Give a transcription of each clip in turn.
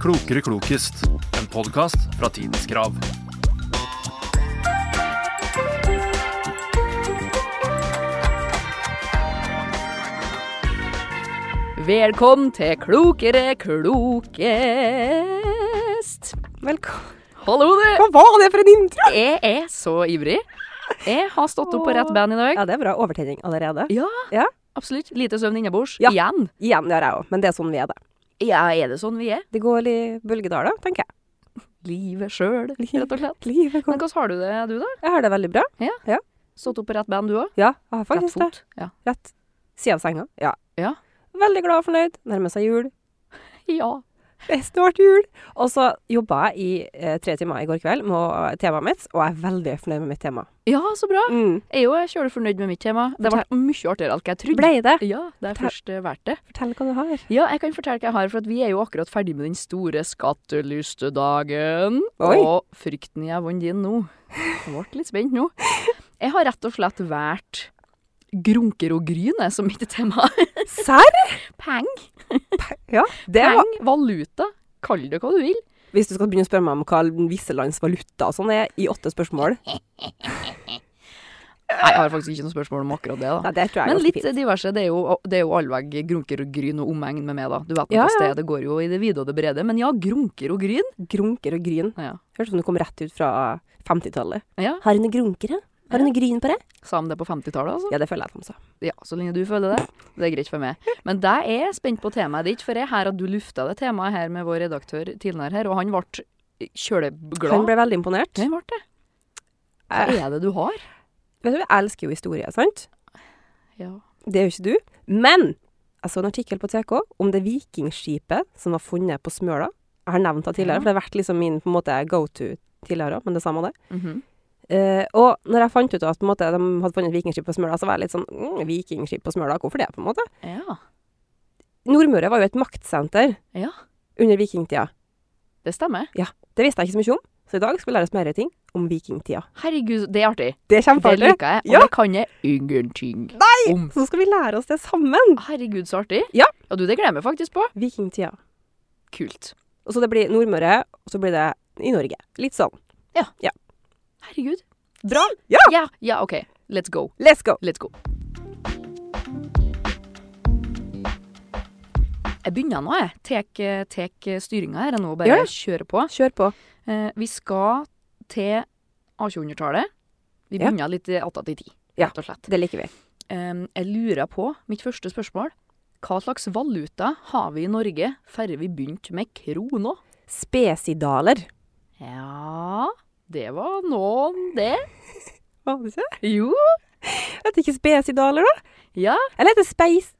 Klokere klokest, en podkast fra Tidens Krav. Velkommen til Klokere klokest. Velkommen. Hallo, du! Hva var det for en intro? Jeg er så ivrig. Jeg har stått opp på rett band i dag. Ja, det er bra. Overtenning allerede. Ja, Ja. absolutt. Lite søvn innabords. Ja. Igjen. Igjen gjør jeg òg, men det er sånn vi er, det. Ja, er det sånn vi er? Det går i bølgedaler, tenker jeg. Livet sjøl, rett og slett. Livet Men går hvordan har du det, du, da? Jeg har det veldig bra. Stått opp på rett band, du òg? Ja, jeg har Rett faktisk det. fot? Ja. Rett side av senga. Ja. Ja. Veldig glad og fornøyd. Nærmer seg jul. ja. Det er snart jul. Og så jobba jeg i eh, tre timer i går kveld med eh, temaet mitt, og jeg er veldig fornøyd med mitt tema. Ja, så bra. Mm. Jeg er jo kjølig fornøyd med mitt tema. Det ble mye artigere enn hva jeg trodde. Blei det? Ja, det er Ta- først eh, verdt det. Fortell hva du har. Ja, jeg kan fortelle hva jeg har, for at vi er jo akkurat ferdig med den store skattelystedagen. Oi. Og frykten jeg vant inn nå. Jeg ble litt spent nå. Jeg har rett og slett valgt grunker og gryne som mitt tema. Serr? Peng, Ja. Det var peng, valuta. Kall det hva du vil. Hvis du skal begynne å spørre meg om hva visse lands valuta og sånn er i åtte spørsmål Nei, jeg har faktisk ikke noe spørsmål om akkurat det, da. Nei, det tror jeg er Men ganske litt fint. diverse. Det er jo, det er jo allveg grunker og gryn og omegn med meg, da. Du vet nå Ja, hva ja. stedet går jo i det vide og det brede. Men ja, grunker og gryn. Grunker og gryn. Ja. Hørtes ut som du kom rett ut fra 50-tallet. Ja. Har hun grunker, ja? Har hun gryn på det? Sa de det på 50-tallet, altså? Ja, det føler jeg at de sa. Ja, så lenge du føler det. Det er greit for meg. Men det er jeg spent på temaet ditt, for jeg her at du lufta det temaet her med vår redaktør tidligere her, og han ble Han kjøleglad. ble veldig imponert. Han ble det. Hva Eh, er det du har? vet du, jeg elsker jo historie, sant? Ja. Det gjør ikke du. Men jeg så en artikkel på TK om det vikingskipet som var funnet på Smøla. Jeg har nevnt det tidligere, Ja. for det har vært liksom min på en måte go to tidligere òg, men det samme det. Mhm. Eh, og når jeg fant ut at på en måte, de hadde funnet et vikingskip på Smøla, så var jeg litt sånn mm, Vikingskip på Smøla, hvorfor det, på en måte? ja. Nordmøre var jo et maktsenter Ja. under vikingtida. Det stemmer. Det visste jeg ikke så mye om, så i dag skal vi lære oss mer ting om vikingtida. Herregud, det er artig. Det er Det kjempeartig! liker jeg, og Ja. det kan jeg ingenting Nei! om. Så skal vi lære oss det sammen! Herregud, så artig. Ja. Og du, det gleder jeg meg faktisk på. Vikingtida. Kult. Og så det blir Nordmøre, og så blir det i Norge. Litt sånn. Herregud. Bra! Ja! Ja, ja, ok. Let's go. Let's go! Let's go. Jeg begynner nå, jeg. Tek, eh, tek eh, styringa her. Jeg nå bare Gjør det. kjører på. Kjør på. Eh, vi skal til A200-tallet. Vi Ja. begynner litt attåt i tid, Ja. rett og slett. Det liker vi. Em, jeg lurer på, mitt første spørsmål, hva slags valuta har vi i Norge før vi begynte med krona? Spesidaler. Ja, det var noen, det. Var det ikke? Jo. Heter ikke spesidaler, da? Ja. Eller heter det speis...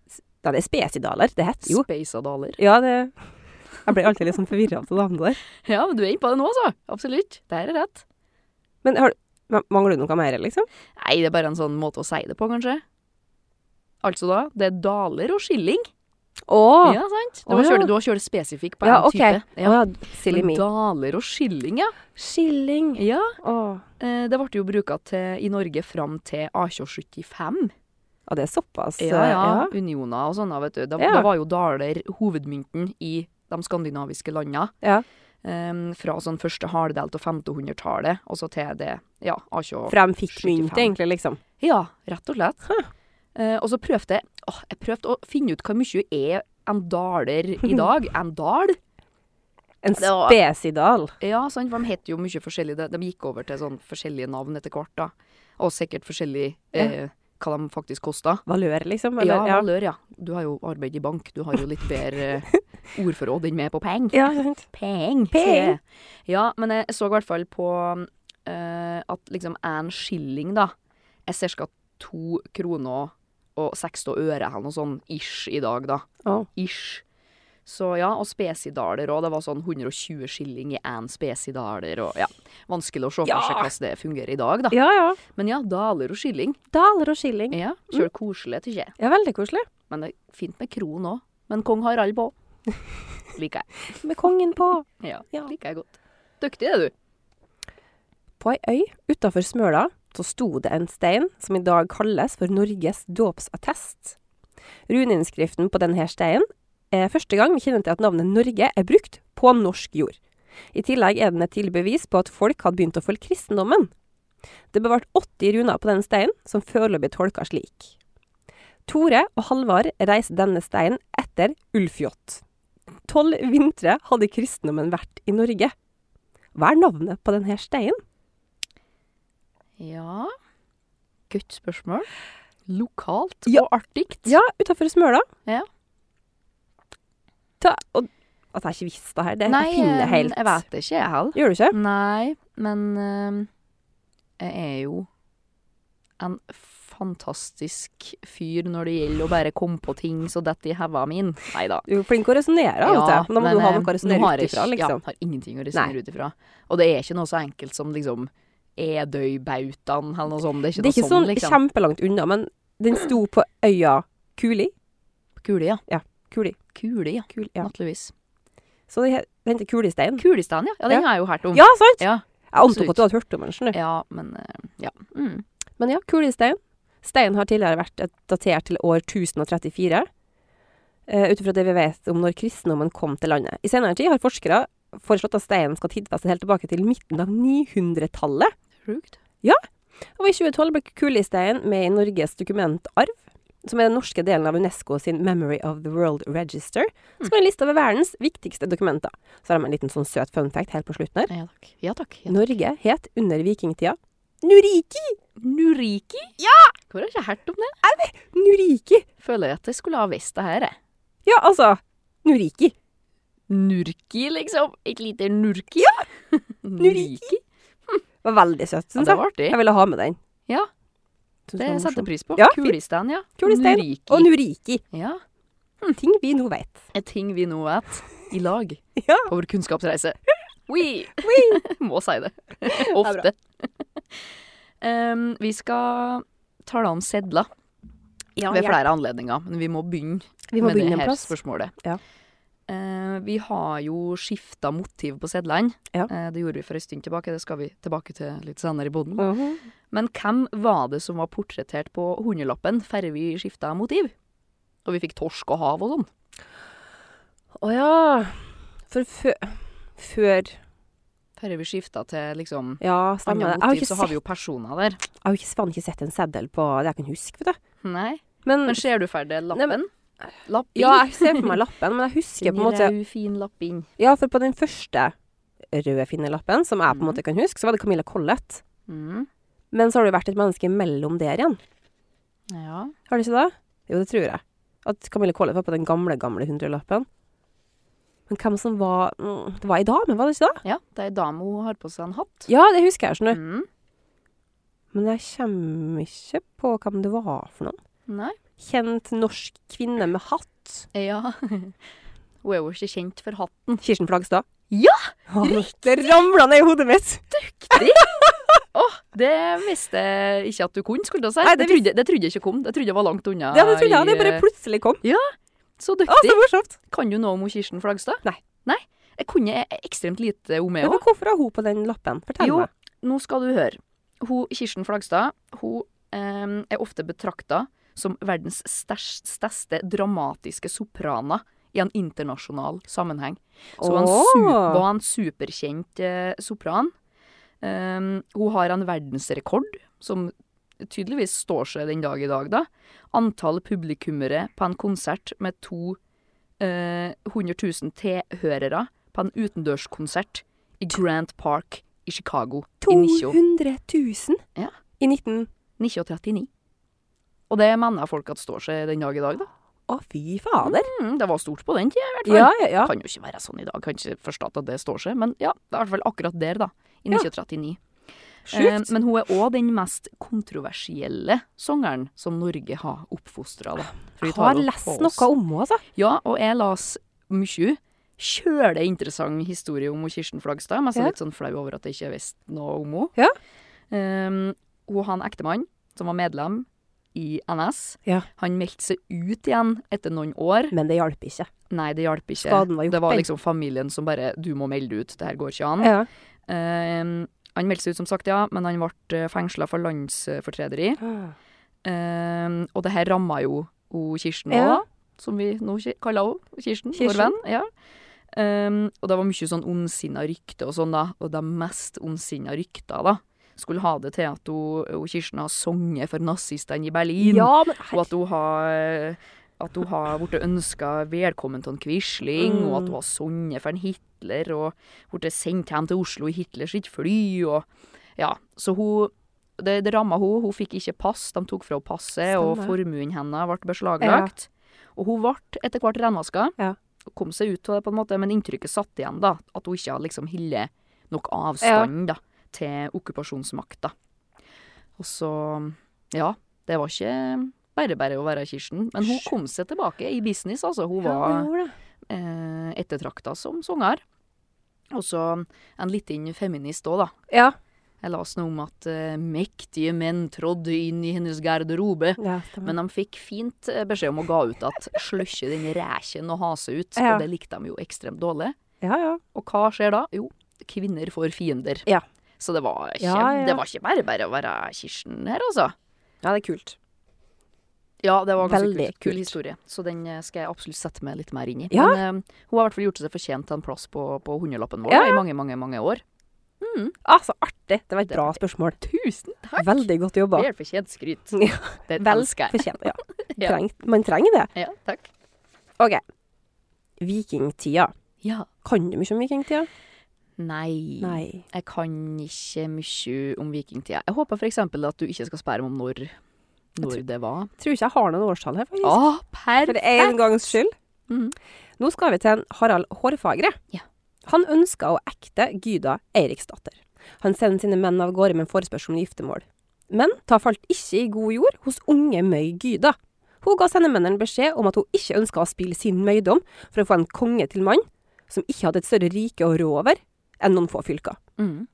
Ja, det er spesidaler. Det heter jo Speisadaler. Ja, det Jeg blir alltid litt sånn forvirra av det navnet der. Ja, men du er inne på det nå, altså. Absolutt. Det her er rett. Men har du men Mangler du noe mer, liksom? Nei, det er bare en sånn måte å si det på, kanskje. Altså da, det er daler og skilling. Å! Ja, Ja, sant? Du Å, har ja. kjørt, du har kjørt spesifikk på ja en OK. type. Ja, Å, silly Men me. daler og skilling, ja. Skilling. ja. Åh. eh, Det ble jo bruka til- i Norge fram til A275. Ja, det er såpass. eh, Ja, ja. ja. Unioner og sånne, vet du. Da, Ja. da var jo daler hovedmynten i de skandinaviske landene. Ja. Em, fra sånn første halvdel til 1500-tallet, og så til det, ja, A275. For de fikk 75. mynt, egentlig, liksom. Ja, rett og slett. Eh, og så prøvde jeg, åh, jeg prøvde å finne ut hvor mye er en daler i dag. En dal? En Det var- spesidal. Ja, sant, for de het jo mye forskjellig. De- De gikk over til sånn forskjellige navn etter hvert, da. Og sikkert forskjellig eh, hva de faktisk kosta. Valør, liksom. Ja, Eller, ja, valør, ja. Du har jo arbeid i bank. Du har jo litt bedre eh, ordforråd enn meg på peng. ja. sant. Peng. Peng. sier jeg. Ja, men jeg så i hvert fall på eh, at liksom en skilling, da, er ca. to kroner og seks tå øre eller noe sånn ish i dag, da. Å. Ish. Så ja, og spesidaler òg. Det var sånn 120 skilling i én spesidaler og ja. Vanskelig å se for Ja. seg hvordan det fungerer i dag, da. ja, ja. Men ja, daler og skilling. Daler og skilling. Ja, sjøl koselig, tykker jeg. Ja, veldig koselig. Men det er fint med kron òg. Men kong Harald på. Liker jeg. Med kongen på. Ja, Ja. liker jeg godt. Dyktig er du. På ei øy utafor Smøla så sto det en stein som i dag kalles for Norges dåpsattest. Runeinnskriften på denne steinen er første gang vi kjenner til at navnet Norge er brukt på norsk jord. I tillegg er den et tidlig bevis på at folk hadde begynt å følge kristendommen. Det er bevart 80 runer på denne steinen, som foreløpig tolka slik. Tore og Halvard reiste denne steinen etter Ulfjot. Tolv vintre hadde kristendommen vært i Norge. Hva er navnet på denne steinen? Ja Godt spørsmål. Lokalt Ja. og artig. Ja, utafor Smøla. Ja. Ta, og, at jeg ikke visste det her, det Nei, jeg finner eh, jeg helt. jeg vet det ikke, jeg heller. Gjør du ikke? Nei, men eh, jeg er jo en fantastisk fyr når det gjelder å bare komme på ting så dette i heva min. Nei da. Du er jo flink å resonnere, ja, men da må du ha noe å resonnere ut ifra, Ja, liksom. eh, har ingenting å Nei. resonnere ut ifra. Og det er ikke noe så enkelt som liksom Edøybautaen eller noe sånt. Det er ikke det er ikke noe sånn, sånn liksom. kjempelangt unna, men den sto på øya Kuli. Kule, ja. Kuli. Kule, ja. Kul, ja. Naturligvis. Så det he- det heter Kulistein. Kulestein, ja. Ja, den Ja. har jeg jo hørt om. Ja, sant? Ja. Jeg antok absolutt. at du hadde hørt om den. skjønner du. Ja, men eh, Ja. Mm. Men ja, Kulistein. Steinen har tidligere vært et- datert til år 1034, eh, ut ifra det vi vet om når kristendommen kom til landet. I senere tid har forskere foreslått at steinen skal tidfeste helt tilbake til midten av 900-tallet. Sjukt. Og i 2012 ble Kulistein med i Norges dokumentarv, som er den norske delen av UNESCO sin Memory of the World Register, som er en liste over verdens viktigste dokumenter. Så har de en liten sånn søt fun fact helt på slutten her. Ja takk. Ja takk. Ja, Norge het under vikingtida Nuriki! Nuriki? Ja! Hvor har jeg ikke hørt om det? Nuriki! Føler at jeg skulle ha visst det her, jeg. Ja, altså Nuriki. Nurki, liksom. Et lite nurki. Ja! Nuriki. Det var veldig søtt, Ja, syns det jeg. var artig. Jeg ville ha med den. Ja. Synes Det setter var morsomt. jeg pris på. Ja, fint. Kulistein, ja. Kulistein Nuriki. Og Nuriki. Ja. Ting vi nå vet. En ting vi nå vet, i lag, Ja. på vår kunnskapsreise. Oui! Må si det. Ofte. Em, vi skal tale om sedler ved flere anledninger, men vi må begynne Vi må med begynne det en her plass. spørsmålet. Ja. Eh, vi har jo skifta motiv på sedlene. Ja. Eh, det gjorde vi for en stund tilbake. Det skal vi tilbake til litt senere i boden. Mhm. Men hvem var det som var portrettert på hundrelappen før vi skifta motiv? Og vi fikk torsk og hav og sånn. Å ja. For før Før Før vi skifta til liksom Ja, stemmer andre det. Jeg har motiv, ikke så sett, har vi jo personer der. jeg har ikke, faen ikke sett en seddel på det jeg kan huske. vet du. Nei. Men, Men ser du ferdig Mm. Nei, lappen? men- lapping? ja, jeg ser for meg lappen, men jeg husker på en måte Rød, fin lapping. Ja, for på den første røde finnelappen, som jeg på Mhm. en måte kan huske, så var det Camilla Collett. Mm. Men så har det jo vært et menneske mellom der igjen. Ja. Har det ikke det? Jo, det tror jeg. At Camilla Collett var på den gamle, gamle hundrelappen. Men hvem som var mm, Det var ei dame, var det ikke det? ja. Det er ei dame hun har på seg en hatt. Ja, det husker jeg, skjønner du. Mm. Men jeg kommer ikke på hvem det var for noen. Nei. Kjent norsk kvinne med hatt. Ja. Hun er jo ikke kjent for hatten. Kirsten Flagstad. Ja, Det ramla ned i hodet mitt! Det visste jeg ikke at du kunne, skulle jeg si. Nei, det, det trodde, det trodde jeg ikke kom. Det trodde jeg var langt unna. Det hadde jeg trodd, i, det bare eh, plutselig kom. Så Å, dyktig. så morsomt! Kan du noe om hun Kirsten Flagstad? Nei. Nei? Jeg kunne ekstremt lite om Men henne. hvorfor har hun på den lappen? Fortell Jo, meg. nå skal du høre. Hun, Kirsten Flagstad hun eh, er ofte betrakta som verdens stæs- største dramatiske soprana i en internasjonal sammenheng. Så hun Åh. su- var en superkjent eh, sopran. Eh, hun har en verdensrekord, som tydeligvis står seg den dag i dag, da. Antall publikummere på en konsert med to eh, 100 000 tilhørere på en utendørskonsert i Grand Park i Chicago i 19- 200 000 Ja. i 19... 1939. Og det mener folk at står seg den dag i dag, da. Å, fy fader. Mm, det var stort på den tida, i hvert fall. Ja, ja, ja. Kan jo ikke være sånn i dag, kan ikke forstå at det står seg, men ja, det er i hvert fall akkurat der, da. I Ja. 1939. Eh, Sjukt. men hun er òg den mest kontroversielle sangeren som Norge har oppfostra, da. For vi Jeg tar har jo lest på oss- noe om henne, altså. Ja, og jeg las mye. Kjøle interessant historie om hun Kirsten Flagstad. Men jeg er Ja. litt sånn flau over at jeg ikke visste noe om henne. Ja. Ehm, hun har en ektemann som var medlem i NS. Ja. Han meldte seg ut igjen etter noen år. Men det hjalp ikke. Nei, det hjalp ikke. Skaden var gjort, det var den. liksom familien som bare 'du må melde ut, det her går ikke an'. Ja. Ehm, han meldte seg ut, som sagt, ja, men han ble fengsla for landsfortræderi. Ehm, og det her ramma jo hun Kirsten òg, Ja. som vi nå ki- kaller henne. Kirsten, Kirsten. vår venn. Ja. Um, og det var mye sånn ondsinna rykter og sånn, da. Og de mest ondsinna rykta, da, skulle ha det til at hun, hun Kirsten har sunget for nazistene i Berlin. Ja, men Og at hun har at hun har blitt ønska velkommen til en Quisling, og Mm. at hun har sunget for en Hitler, og blitt sendt hjem til Oslo i Hitlers sitt fly, og Ja. Så hun Det, det ramma hun. Hun fikk ikke pass. De tok fra henne passet, og Stemmer. formuen hennes ble beslaglagt. Og hun ble etter hvert renvaska. Ja. Kom seg ut av det, på en måte, men inntrykket satt igjen, da. At hun ikke hadde liksom hillet nok avstand, da, til okkupasjonsmakta. Og så Ja. Det var ikke bare bare å være Kirsten. Men hun kom seg tilbake i business, altså. Hun Ja, var hun gjorde det. eh, ettertrakta som sanger. Og så en liten feminist òg, da. Ja. Jeg leste noe om at eh, mektige menn trådde inn i hennes garderobe. ja stemmer. Men de fikk fint eh, beskjed om å gå ut at sløsje den rækjen og hase ut. Ja. Og det likte de jo ekstremt dårlig. ja, ja. Og hva skjer da? Jo, kvinner får fiender. Ja. Så det var, ikke, Ja, ja. det var ikke bare bare å være Kirsten her, altså. ja, det er kult. Ja, det var ganske Veldig kult. kul kult. historie. Så den eh, skal jeg absolutt sette meg litt mer inn i. Ja. Men eh, hun har i hvert fall gjort seg fortjent til en plass på, på hundrelappen vår Ja. da, i mange, mange mange år. Ah, så artig. Det var et Det- bra spørsmål. Tusen takk! Veldig godt jobba. Vel fortjent skryt. Ja. Det Vel elsker jeg. fortjent. Ja. Ja. Trengt- Man trenger det. Ja, takk. OK. Vikingtida. Ja. Kan du mye om vikingtida? Nei. Nei. Jeg kan ikke mye om vikingtida. Jeg håper f.eks. at du ikke skal spørre meg om når, når det var. Tror ikke jeg har noen årstall her, faktisk. Å, For perfekt! en gangs skyld. Mhm. Nå skal vi til en Harald Hårfagre. Ja. Han ønska å ekte Gyda Eiriksdatter. Han sender sine menn av gårde med en forespørsel om giftermål. Men ta falt ikke i god jord hos unge møy Gyda. Hun ga sendemennene beskjed om at hun ikke ønska å spille sin møydom for å få en konge til mann som ikke hadde et større rike å rå over enn noen få fylker. Mm.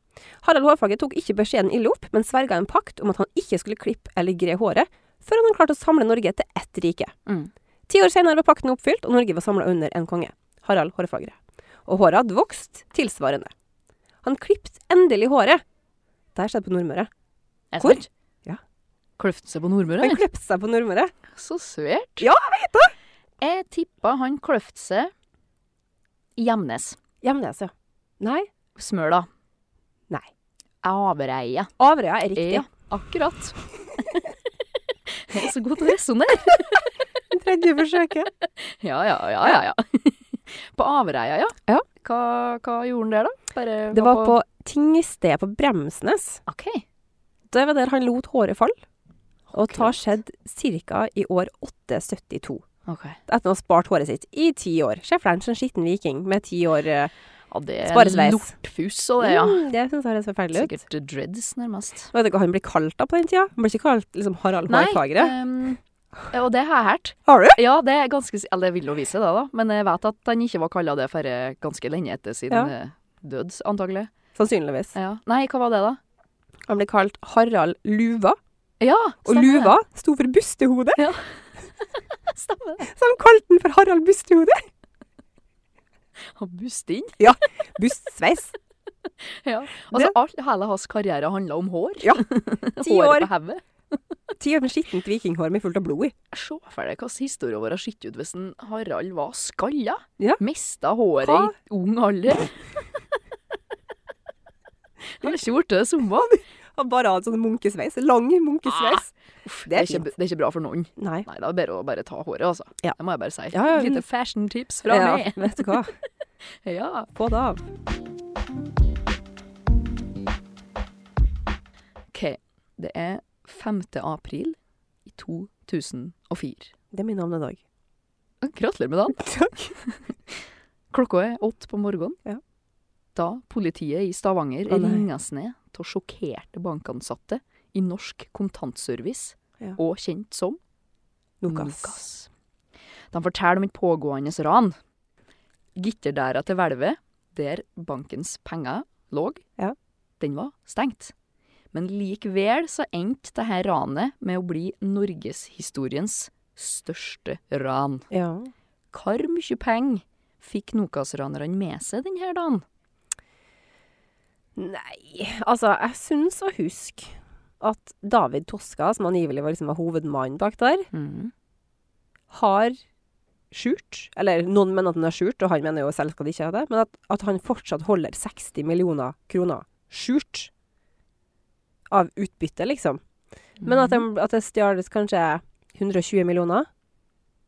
Harald Hårfagre tok ikke beskjeden ille opp, men sverga en pakt om at han ikke skulle klippe eller gre håret før han hadde klart å samle Norge til ett rike. Mm. Ti år senere var pakten oppfylt, og Norge var samla under en konge, Harald Hårfagre. Og håret hadde vokst tilsvarende. Han klippte endelig håret. Det her skjedde på Nordmøre. Er det Hvor? sant? Ja. Kløfte seg på Nordmøre? Han eller? klipte seg på Nordmøre. Så svært. Ja, jeg vet det! Jeg tippa han kløfte seg i Gjemnes. Hjemnes, ja. Nei. Smøla. Nei. Avereia. Averøya er riktig. Ja, Eh, akkurat. Jeg er så god til å resonnere. Tredje forsøket. Ja, ja, ja, ja, ja. På Avereia, ja. Ja. Hva, hva gjorde han der, da? Bare Det var på tingstedet på Bremsnes. OK. Det var der han lot håret falle. Og det har Akkurat. skjedd ca. i år 872. ok. Etter å ha spart håret sitt i ti år. Ser for deg en sånn skitten viking med ti år eh, Ja, det Sparesveis. er lortfus og det, ja. mm, Det syns jeg høres forferdelig ut. Sikkert dreads, nærmest. Vet du hva han blir kalt da på den tida? Han blir ikke kalt liksom Harald Hårfagre. ehm, og det har jeg hørt. Har du? Ja, det er ganske s- Eller jeg vil jo vise det, da. Men jeg vet at han ikke var kalla det for eh, ganske lenge etter sin Ja. eh, død, antagelig. Sannsynligvis. Ja. Nei, hva var det, da? Han blir kalt Harald Luva. Ja, Og stemmer luva sto for bustehode, det. Stemmer det. så de kalte han for Harald Bustehode. Og Bustin. Bustsveis. Ja. Altså, all, hele hans karriere handla om hår. Ja. Ti Håret år, på hodet. ti år med skittent vikinghår med fullt av blod i. Se for deg hvordan historien vår har sett ut hvis en Harald var skalla. Ja. Mista håret Hva? i ung alder. Han har ikke blitt det samme. Han bare hadde sånn munkesveis. Lang munkesveis. Uff, Det er ikke, fint. det er ikke bra for noen. Nei. Nei, det er bare å bare ta håret, altså. Ja. Det må jeg bare si. Ja, ja, Lite men- fashion tips fra ja, meg. Vet du hva. Ja. Få det av. OK. Det er 5. april i 2004. Det er min navnedag. Gratulerer med dagen. Takk. Klokka er åtte på morgenen. Ja. Da politiet i Stavanger Å, nei. ringes ned av sjokkerte bankansatte i Norsk Kontantservice, Ja. og kjent som Lukas. De forteller om et pågående ran. Gitterdæra til hvelvet, der bankens penger lå, Ja. den var stengt. Men likevel så endte dette ranet med å bli norgeshistoriens største ran. Ja. Hvor mye penger fikk Nokas-ranerne med seg denne dagen? Nei, altså, jeg syns å huske at David Toska, som angivelig var, liksom, var hovedmannen bak der, har skjult. Eller noen mener at den er skjult, og han mener jo selv skal det ikke ha det. Men at, at han fortsatt holder 60 millioner kroner skjult av utbytte, liksom. Men at, de, at det stjales kanskje 120 millioner,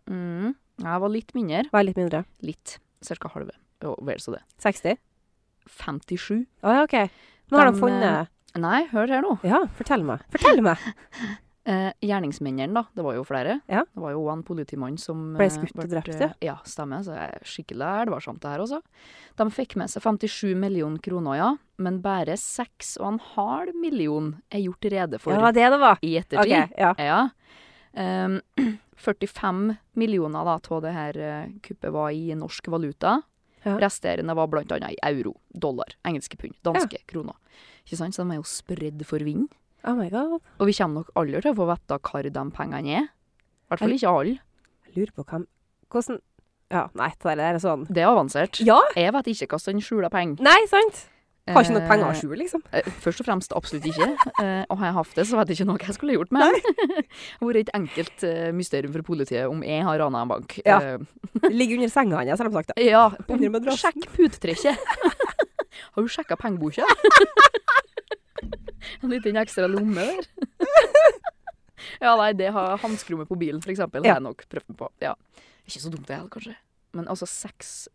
Mm. Jeg var litt mindre. var litt mindre. Litt. Cirka halve. Jo, vel så det. 60? 57. Å ja, OK. Nå har De, de funnet Nei, hør her nå. Ja, fortell meg. eh, Fortell meg! Eh, gjerningsmennene, da. Det var jo flere. Ja. Det var jo en politimann som Ble eh, skutt og vart, drept, eh, Ja, stemmer. Så det er skikkelig elvarsomt, det her også. De fikk med seg 57 millioner kroner, ja. Men bare 6,5 millioner er gjort rede for Ja, det var det det var. i ettertid. OK. Ja. Ja. Ehm, 45 millioner da, av det her eh, kuppet var i norsk valuta. Ja. Resterende var blant annet i euro, dollar, engelske pund, danske kroner. Ikke sant? Så de er jo spredd for vind. Oh my god. Og vi kommer nok aldri til å få vite hvor de pengene er. I hvert fall ikke alle. Jeg lurer på hvem Hvordan Ja, nei, det der er sånn Det er avansert. Ja! Jeg vet ikke hvordan han skjuler penger. Nei, sant? Har Eh, ikke noe penger å skjule, liksom. eh, Først og fremst absolutt ikke. Eh, Og har jeg hatt det, så vet jeg ikke noe jeg skulle gjort med det. Det har vært et enkelt eh, mysterium for politiet om jeg har rana en bank. Ja. Eh, Ligger under senga hans, har de sagt. da. Ja, Under madrassen. sjekk putetrekket. Har du sjekka pengeboka? En liten ekstra lomme der. Ja, nei, det har hanskerommet på bilen, for eksempel. Det Ja. har jeg nok prøvd meg på. Ja. Ikke så dumt det heller, kanskje. Men altså 6,5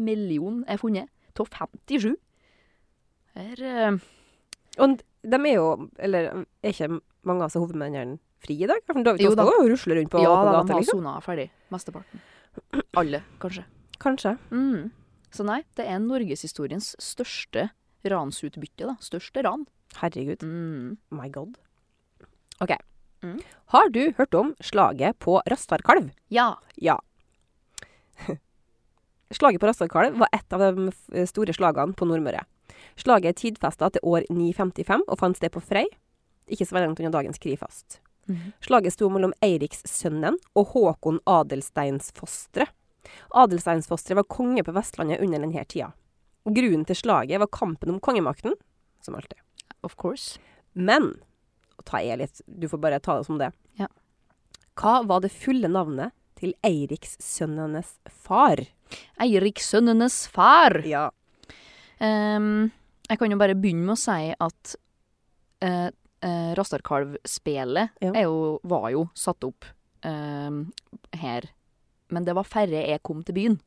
millioner er funnet. Av 57. Her eh, Og de er jo Eller er ikke mange av seg hovedmennene fri i dag? For David Jo Toska da. går jo og rusler rundt på, Ja, på da, de gata, har liksom. sona ferdig. Mesteparten. Alle, kanskje. Kanskje. Mm. Så nei, det er norgeshistoriens største ransutbytte, da. Største ran. Herregud. Mm. My god. OK. Mm. Har du hørt om slaget på Rastarkalv? Ja. Ja. Slaget på Rastarkalv var et av de f- eh, store slagene på Nordmøre. Slaget er tidfesta til år 955 og fant sted på Frei, ikke så veldig langt unna dagens Krifast. Slaget sto mellom Eirikssønnen og Håkon Adelsteinsfostre. Adelsteinsfostre var konge på Vestlandet under denne tida. Grunnen til slaget var kampen om kongemakten, som alltid. Of course. Men og ta jeg litt, Du får bare ta det som det. Ja. Hva var det fulle navnet til Eirikssønnenes far? Eirikssønnenes far. Ja. Ehm, jeg kan jo bare begynne med å si at uh, Rastarkalv-spelet Ja. er jo, var jo satt opp ehm, her. Men det var færre jeg kom til byen.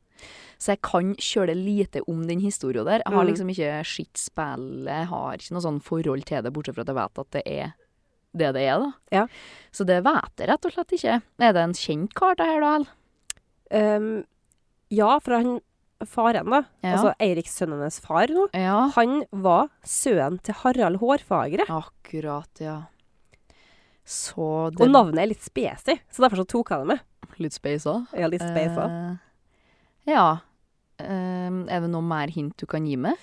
Så jeg kan kjøle lite om den historien der. Jeg har Mm. liksom ikke skitt spillet, jeg har ikke noe sånn forhold til det, bortsett fra at jeg vet at det er det det er, da. Ja. Så det vet jeg rett og slett ikke. Er det en kjent kar, det her, da? eller? Ehm, ja, for han faren, da. Ja. Altså Eirikssønnenes far nå. ja. Han var sønnen til Harald Hårfagre. Akkurat, ja. Så det Og navnet er litt spesig, så derfor så tok jeg det med. Litt speisa. Ja, litt spesa. Eh, ja. Ehm, er det noe mer hint du kan gi meg?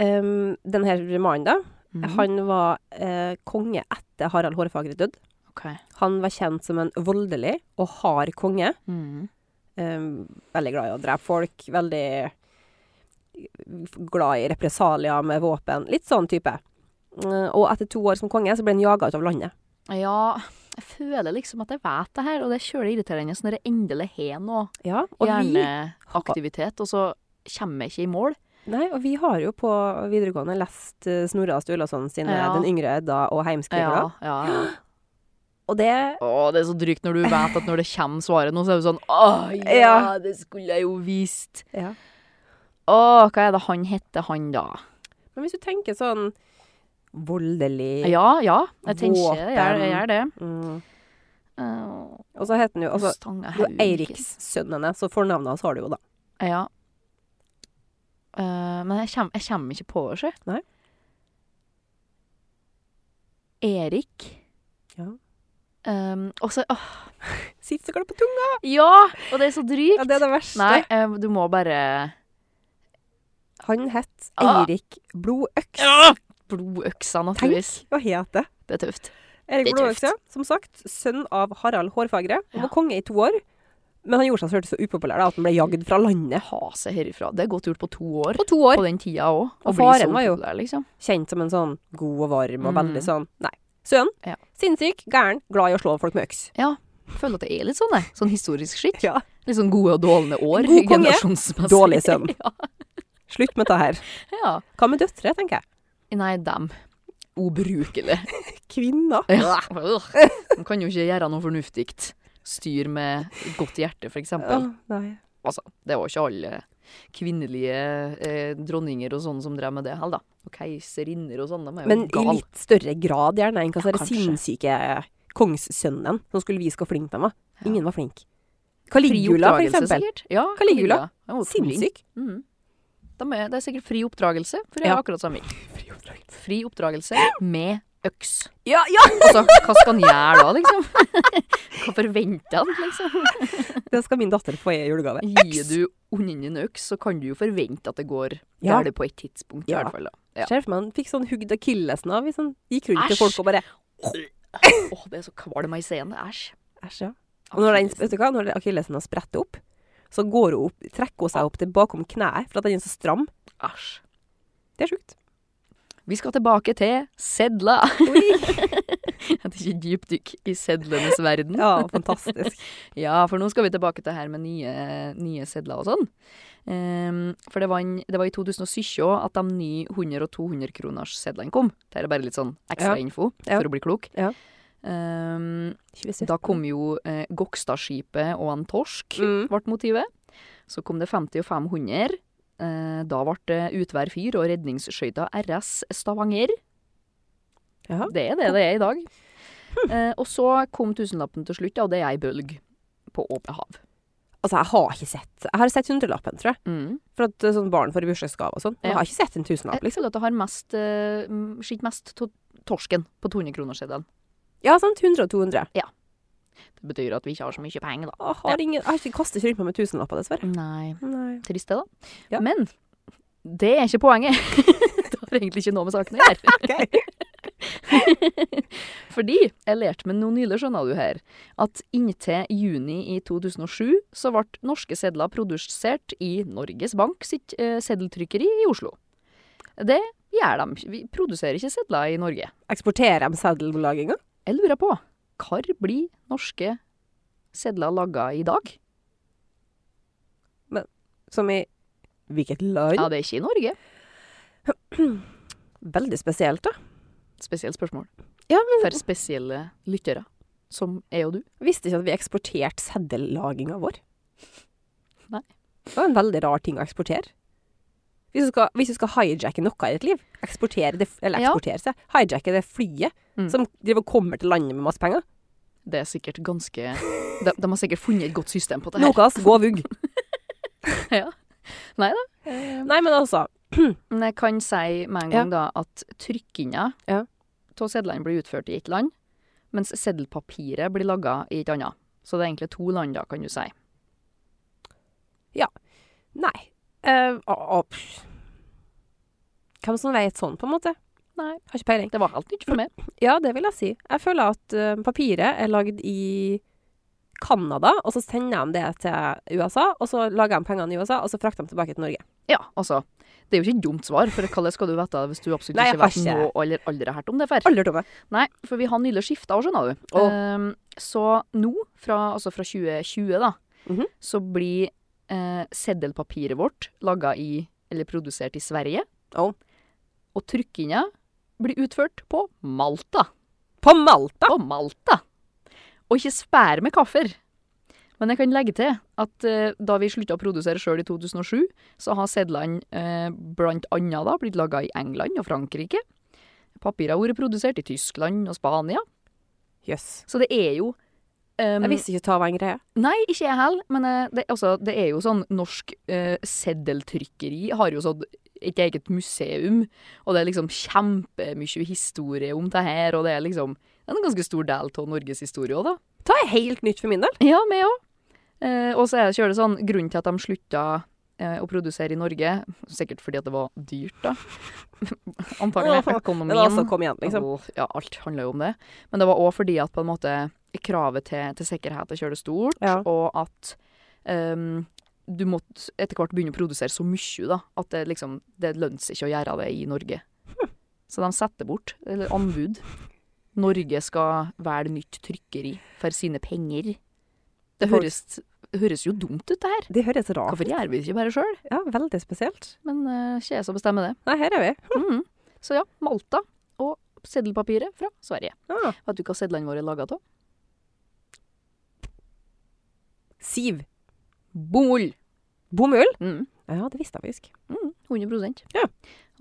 Ehm, den her mannen, da, Mhm. han var eh, konge etter Harald Hårfagre død. Ok. Han var kjent som en voldelig og hard konge. Mhm. Um, veldig glad i å drepe folk. Veldig glad i represalier med våpen. Litt sånn type. Uh, og etter to år som konge, så ble han jaga ut av landet. Ja, jeg føler liksom at jeg vet det her, og det er kjølig irriterende når jeg endelig har noe Ja, og vi, hjerneaktivitet, og så kommer jeg ikke i mål. nei, og vi har jo på videregående lest uh, Snorre Sturlason sine Ja. Den yngre Edda og Heimskringla. Ja, ja, ja. Og det Å, det er så drygt når du vet at når det kommer svaret nå, så er du sånn Å ja, Ja. det skulle jeg jo visst. ja. Å, hva er det han heter, han da? Men hvis du tenker sånn voldelig Ja, ja, jeg tenker jeg gjør- jeg Våpen. Eh, gjør det. mm. Uh, Og så heter han jo altså, det er jo Stangehaugen. Eirikssønnene, så fornavnet hans har du jo, da. Ja. Eh, men jeg kommer, jeg kommer ikke på det, sjø. Nei. Erik. Ja. Um, og så åh, Sitter så klart på tunga! Ja! Og det er så drygt. Ja, det er det verste. Nei, eh, du må bare Han het Ah. Eirik Blodøks. Blodøksa, Tenk naturligvis. hva het det? Det er tøft. Eirik Det er Blodøks, tøft. ja. Som sagt, sønn av Harald Hårfagre. Ja. Han var konge i to år. Men han gjorde seg så hørtes så upopulær da, at han ble jagd fra landet. Ha seg herifra. Det er godt gjort på to år. På to På år. den tida òg. Og faren var jo- liksom. Kjent som en sånn god og varm og Mhm. veldig sånn Nei. Sønn. Ja. Sinnssyk, gæren, glad i å slå folk med øks. Ja. Føler at det er litt sånn, jeg. Sånn historisk skikk. Ja. Litt sånn gode og dårlige år. God konge, generasjonsmessig. dårlig sønn. ja. Slutt med det her. ja. Hva med døtre, tenker jeg? Nei, dem. Ubrukelig. Kvinner. Ja. De kan jo ikke gjøre noe fornuftig. Styr med godt hjerte, for eksempel. Åh, nei. Altså, det var ikke alle kvinnelige eh, dronninger og sånne som drev med det heller, da. Og keiserinner og sånn, de er jo Men i gale. litt større grad, gjerne, enn hva Ja, ja, kanskje. sinnssyke kongssønnen som skulle vise hvor flink de var. Ja. Ingen var flink. Fri Caligula, for oppdragelse, eksempel. sikkert. Ja, Caligula. Den var tulling. Sinnssyk. Mhm. De er, det er sikkert fri oppdragelse, for jeg Ja. er akkurat samme. Fri oppdragelse med øks. Ja, ja! Altså, hva skal han gjøre da, liksom? Hva forventer han, liksom? Det skal min datter få i julegave. Gir du ungen din øks, så kan du jo forvente at det går Ja. galt på et tidspunkt, i Ja. hvert fall. da. Ja. Ser for meg han fikk sånn hugd akillesen av hvis han gikk rundt til Æsj. folk og bare Åh, det er så kvalm i scenen. Æsj. Æsj, ja. Og når, den, vet du hva? når akillesen har spredt opp, så går hun opp, trekker hun seg opp til bakom kneet for at den er så stram. Æsj. Det er sjukt. Vi skal tilbake til sedler. Oi. Et ikke dypdykk i sedlenes verden. Ja, fantastisk. Ja, for nå skal vi tilbake til her med nye, nye sedler og sånn. Ehm, for det var, en, det var i 2017 at de nye 100- og 200-kroners sedlene kom. Dette er bare litt sånn ekstra Ja. info Ja. for å bli klok. Ja. Ehm, 27. da kom jo eh, Gokstadskipet og en torsk, Mm. ble motivet. Så kom det 50 og 500. Eh, da ble det Utvær fyr og redningsskøyta RS Stavanger. Jaha. Det er det det er i dag. Eh, og så kom tusenlappen til slutt, da, og det er ei bølg på åpent hav. Altså, jeg har ikke sett Jeg har sett hundrelappen, tror jeg. Mm. For at eh, sånn barn får i bursdagsgave og sånn. Men Ja. Jeg har ikke sett en tusenlapp, Jeg liksom. føler at det har mest, eh, m, skitt mest to torsken på 200-kronersseddelen. Ja, sant. 100 og 200. Det betyr at vi ikke har så mye penger, da. Jeg har ingen Jeg har ikke kastet rundt meg med tusenlapper, dessverre. Nei. Nei. Trist det, da. Ja. Men det er ikke poenget. det har egentlig ikke noe med saken å gjøre. Ok. Fordi jeg lærte meg noe nylig, skjønner du her, at inntil juni i 2007 så ble norske sedler produsert i Norges Bank sitt eh, seddeltrykkeri i Oslo. Det gjør de. Vi produserer ikke sedler i Norge. Eksporterer de seddellaginga? Jeg lurer på, hvor blir norske sedler laga i dag? Som i Hvilket land? Ja, det er ikke i Norge. Veldig spesielt, da. Spesielt spørsmål. Ja, men- For spesielle lyttere, som jeg og du. Visste ikke at vi eksporterte seddellaginga vår. Nei. Det var en veldig rar ting å eksportere. Hvis du skal, hvis du skal hijacke noe i ditt liv, eksportere det, eller Ja. eksportere seg, hijacke det flyet Mm. som driver og kommer til landet med masse penger Det er sikkert ganske De, de har sikkert funnet et godt system på det her. Nokas, gå vugg. Eh, Nei, men altså Men jeg kan si med en gang da at trykkinga Ja. av sedlene blir utført i ett land, mens seddelpapiret blir laga i et annet. Så det er egentlig to land, da, kan du si. Nei. Eh, å- å, pff. Hvem som vet sånn, på en måte? Nei. Har ikke peiling. Det var helt nytt for meg. Ja, det vil jeg si. Jeg føler at eh, papiret er lagd i Canada, og så sender de det til USA, og så lager de pengene i USA, og så frakter de tilbake til Norge. Ja, altså. Det er jo ikke et dumt svar, for hvordan skal du vite det hvis du absolutt Nei, jeg ikke vet har ikke- noe eller aldri har hørt om det før? Aldri tomme. Nei, for vi har nylig skifta òg, skjønner du. Åh. Ehm, så nå, fra, altså fra 2020, da, Mhm. så blir eh, seddelpapiret vårt laga i Eller produsert i Sverige. Åh. Og trykkinga blir utført på Malta. På Malta! På Malta! Og ikke spær med kaffer. Men jeg kan legge til at eh, da vi slutta å produsere sjøl i 2007, så har sedlene eh, blant annet da blitt laga i England og Frankrike. Papiret har vært produsert i Tyskland og Spania. Jøss. Så det er jo ehm, Jeg visste ikke ta var en greie. Nei, ikke jeg heller, men eh, det, altså, det er jo sånn norsk eh, seddeltrykkeri har jo sånn et eget museum, og det er liksom kjempemye historie om det her, og det er liksom det er en ganske stor del av Norges historie òg, da. Ta er helt nytt for min del. Ja, meg òg. Eh, og så er det kjølig sånn, grunnen til at de slutta eh, å produsere i Norge, sikkert fordi at det var dyrt, da. Antagelig Men økonomien. altså, kom igjen, liksom. Og, ja, alt handler jo om det. Men det var òg fordi at på en måte kravet til, til sikkerhet er kjørt stort, Ja. og at ehm, du måtte etter hvert begynne å produsere så mye da, at det liksom det lønner seg ikke å gjøre det i Norge. Så de setter bort eller anbud Norge skal velge nytt trykkeri for sine penger. Det Folk- høres, høres jo dumt ut, det her. Det høres rart Hvorfor gjør vi det ikke bare sjøl? Ja, veldig spesielt. Men eh, ikke jeg som bestemmer det. Nei, her er vi. Mhm. Så ja, Malta og seddelpapiret fra Sverige. Ah. Vet du hva sedlene våre er laga av? Siv. Bomull! Bomull? Mm. Ja, det visste jeg faktisk. Mm, 100 Ja.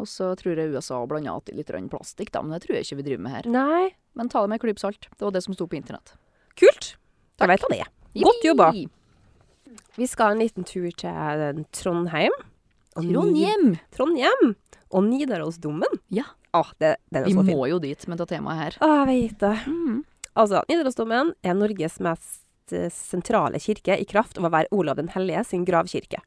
Og så tror jeg USA blander til litt grann plastikk, da, men det tror jeg ikke vi driver med her. Nei. Men ta det med en klype salt. Det var det som sto på internett. Kult. Da vet jeg det. Godt jobba. Jippi! Vi skal en liten tur til eh, Trondheim. Og Ni- Trondheim! Mm. Trondheim. Og Nidarosdomen. Ja. Ah, det, den er Vi så fin. må jo dit med det temaet her. Ah, jeg vet det. Mm. Altså, Nidarosdomen er Norges mest eh, sentrale kirke i kraft av å være Olav den hellige sin gravkirke.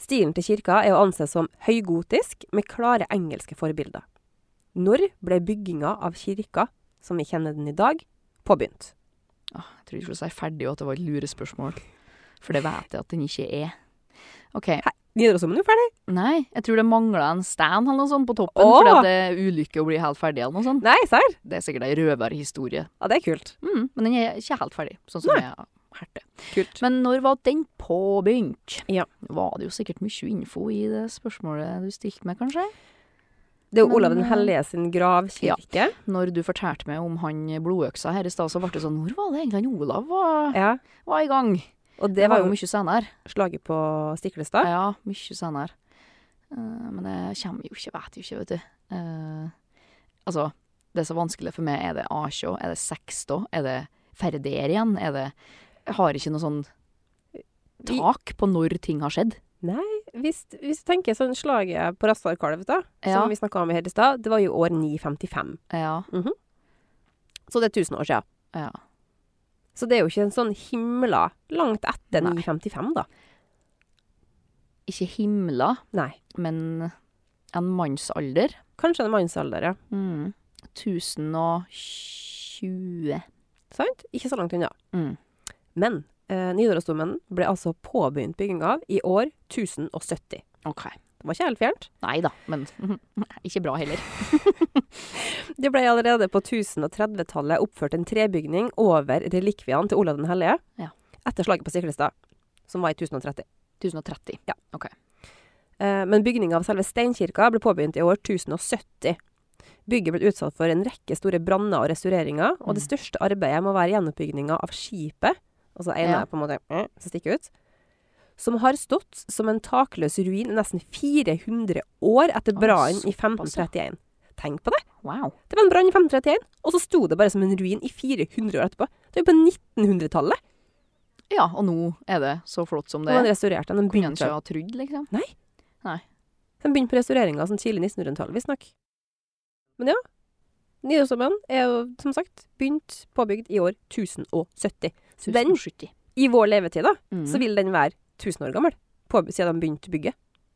Stilen til kirka er å anse som høygotisk med klare engelske forbilder. Når ble bygginga av kirka, som vi kjenner den i dag, påbegynt? Jeg tror ikke du sier ferdig, og at det var et lurespørsmål. For det vet jeg at den ikke er. OK. Nidarosdomen er jo ferdig. Nei, jeg tror det mangla en stand eller noe sånt på toppen, Åh! fordi at det er ulykke å bli helt ferdig eller noe sånt. Nei, serr? Det er sikkert ei røverhistorie. Ja, det er kult. Mm, men den er ikke helt ferdig, sånn som Nei. jeg har hørt det. Kult. Men når var den påbegynt? Ja. Nå Var det jo sikkert mye info i det spørsmålet du stilte meg, kanskje? Det er jo Olav Men, eh, den hellige sin gravkirke. Når du fortalte meg om han blodøksa her i stad, så ble det sånn Hvor var det egentlig han Olav var, Ja. var i gang? Og Det det var jo jo mye senere. slaget på Stiklestad. Ja, mye senere. Eh, Men det kommer jo ikke, vet jo ikke, vet du. Eh, altså, det som er vanskelig for meg, er det A-sjå? Er det sekstå? Er det ferdig igjen? Er det Jeg har ikke noe sånn Vi- tak på når ting har skjedd. Hvis, hvis du tenker sånn slaget på Rastarkalvet, da, Ja. som vi snakka om her i stad, det var jo år 955. Ja. Så det er 1000 år siden. ja. Så det er jo ikke en sånn himla langt etter Nei. 955, da. Ikke himla, Nei. men en mannsalder. Kanskje en mannsalder, ja. Mm. 1020. Sant? Ikke så langt unna. Mm. Men eh, Nidarosdomen ble altså påbegynt bygging av i år 1070. OK. Det var ikke helt fjernt. Nei da, men ikke bra heller. Det ble allerede på 1030-tallet oppført en trebygning over relikviene til Olav den hellige Ja. etter slaget på Stiklestad, som var i 1030. 1030. Eh, Men bygninga av selve steinkirka ble påbegynt i år 1070. Bygget ble utsatt for en rekke store branner og restaureringer, og Mm. det største arbeidet må være gjenoppbygninga av skipet, altså ene Ja. på en måte eh, som stikker ut, som har stått som en takløs ruin i nesten 400 år etter Oi, brannen i såpass, ja. 1531. Tenk på det! Wow. Det var en brann i 1531, og så sto det bare som en ruin i 400 år etterpå. Det er jo på 1900-tallet! Ja, og nå er det så flott som Da det man er. restaurerte den. De Kunne en begynte, ikke ha trodd, liksom. de begynte på restaureringa sånn tidlig 1900-tallet, visstnok. Men ja. Nidarosdomen er jo, som sagt, begynt påbygd i år 1070. Så den, 1070. i vår levetid, da, Mm. så vil den være 1000 år gammel. På, siden de begynte å bygge.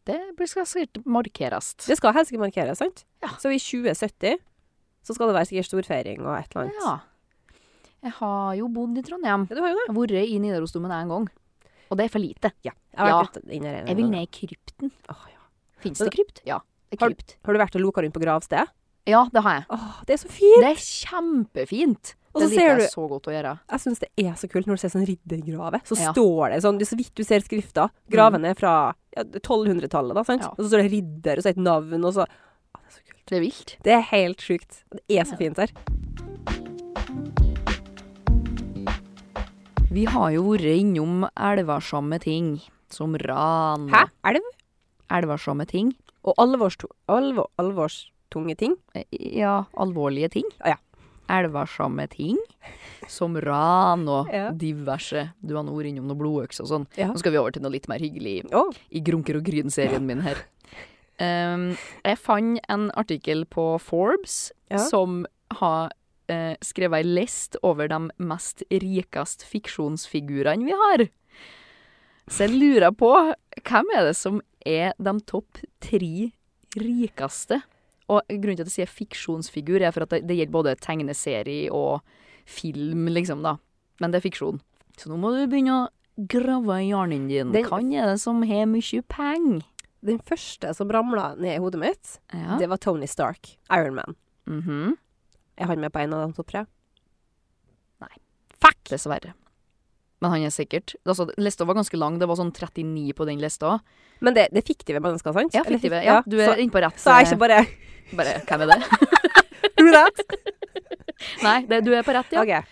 Det blir- skal sikkert markeres. Det skal helst ikke markeres, sant? Ja. Så i 2070 så skal det være sikkert storfeiring og et eller annet. Ja. Jeg har jo bodd i Trondheim. Ja, du har jo det. Jeg har vært i Nidarosdomen én gang. Og det er for lite. Jeg har Ja. vært litt inne her en Jeg vil gang. ned i krypten. Åh, ja. Fins Men det krypt? Ja, det er Har- krypt. Har du vært og loka rundt på gravstedet? Ja, det har jeg. Åh, det er så fint! Det er kjempefint. Og Det så ser liker du- jeg så godt å gjøre. Jeg syns det er så kult når du ser sånn riddergrave. Så Ja. Mm. står det sånn, det er så vidt du ser skrifta. Graven er fra ja, 1200-tallet, da, sant? Ja. Og så står det ridder, og så et navn, og så Å, Det er så kult. Det er vilt. Det er helt sjukt. Det er så Ja. fint her. Vi har jo vært innom elversamme ting, som ran. Hæ? Elv? Elversamme ting. Og alvorstu- alvor, alvorstunge ting. Eh, Ja, alvorlige ting. Ja, ja. Elversamme ting, som ran og Ja. diverse. Du har nå vært innom noe blodøks og sånn. Ja. Nå skal vi over til noe litt mer hyggelig Å, i Grunker og Gryn-serien min her. Um, jeg fant en artikkel på Forbes Ja. som har eh, skrevet ei list over de mest rikest fiksjonsfigurene vi har. Så jeg lurer på hvem er det som er de topp tre rikeste? Og grunnen til at jeg sier fiksjonsfigur, er for at det, det gjelder både tegneserie og film, liksom, da. Men det er fiksjon. Så nå må du begynne å grave i hjernen din. Den- Hvem er det som har mye penger? Den første som ramla ned i hodet mitt, Ja. det var Tony Stark. Iron Man. Mhm. Er han med på en av de to, tror jeg? Fuck! Dessverre. Men han er sikkert altså, Lista var ganske lang. Det var sånn 39 på den lista. Men det, det er fiktive mennesker, sant? Ja, Eller fiktive. fik- Ja, du er så, inne på rett eh, så jeg er ikke bare Bare Hvem er det? Who that? Nei, det, du er på rett, ja. Ok.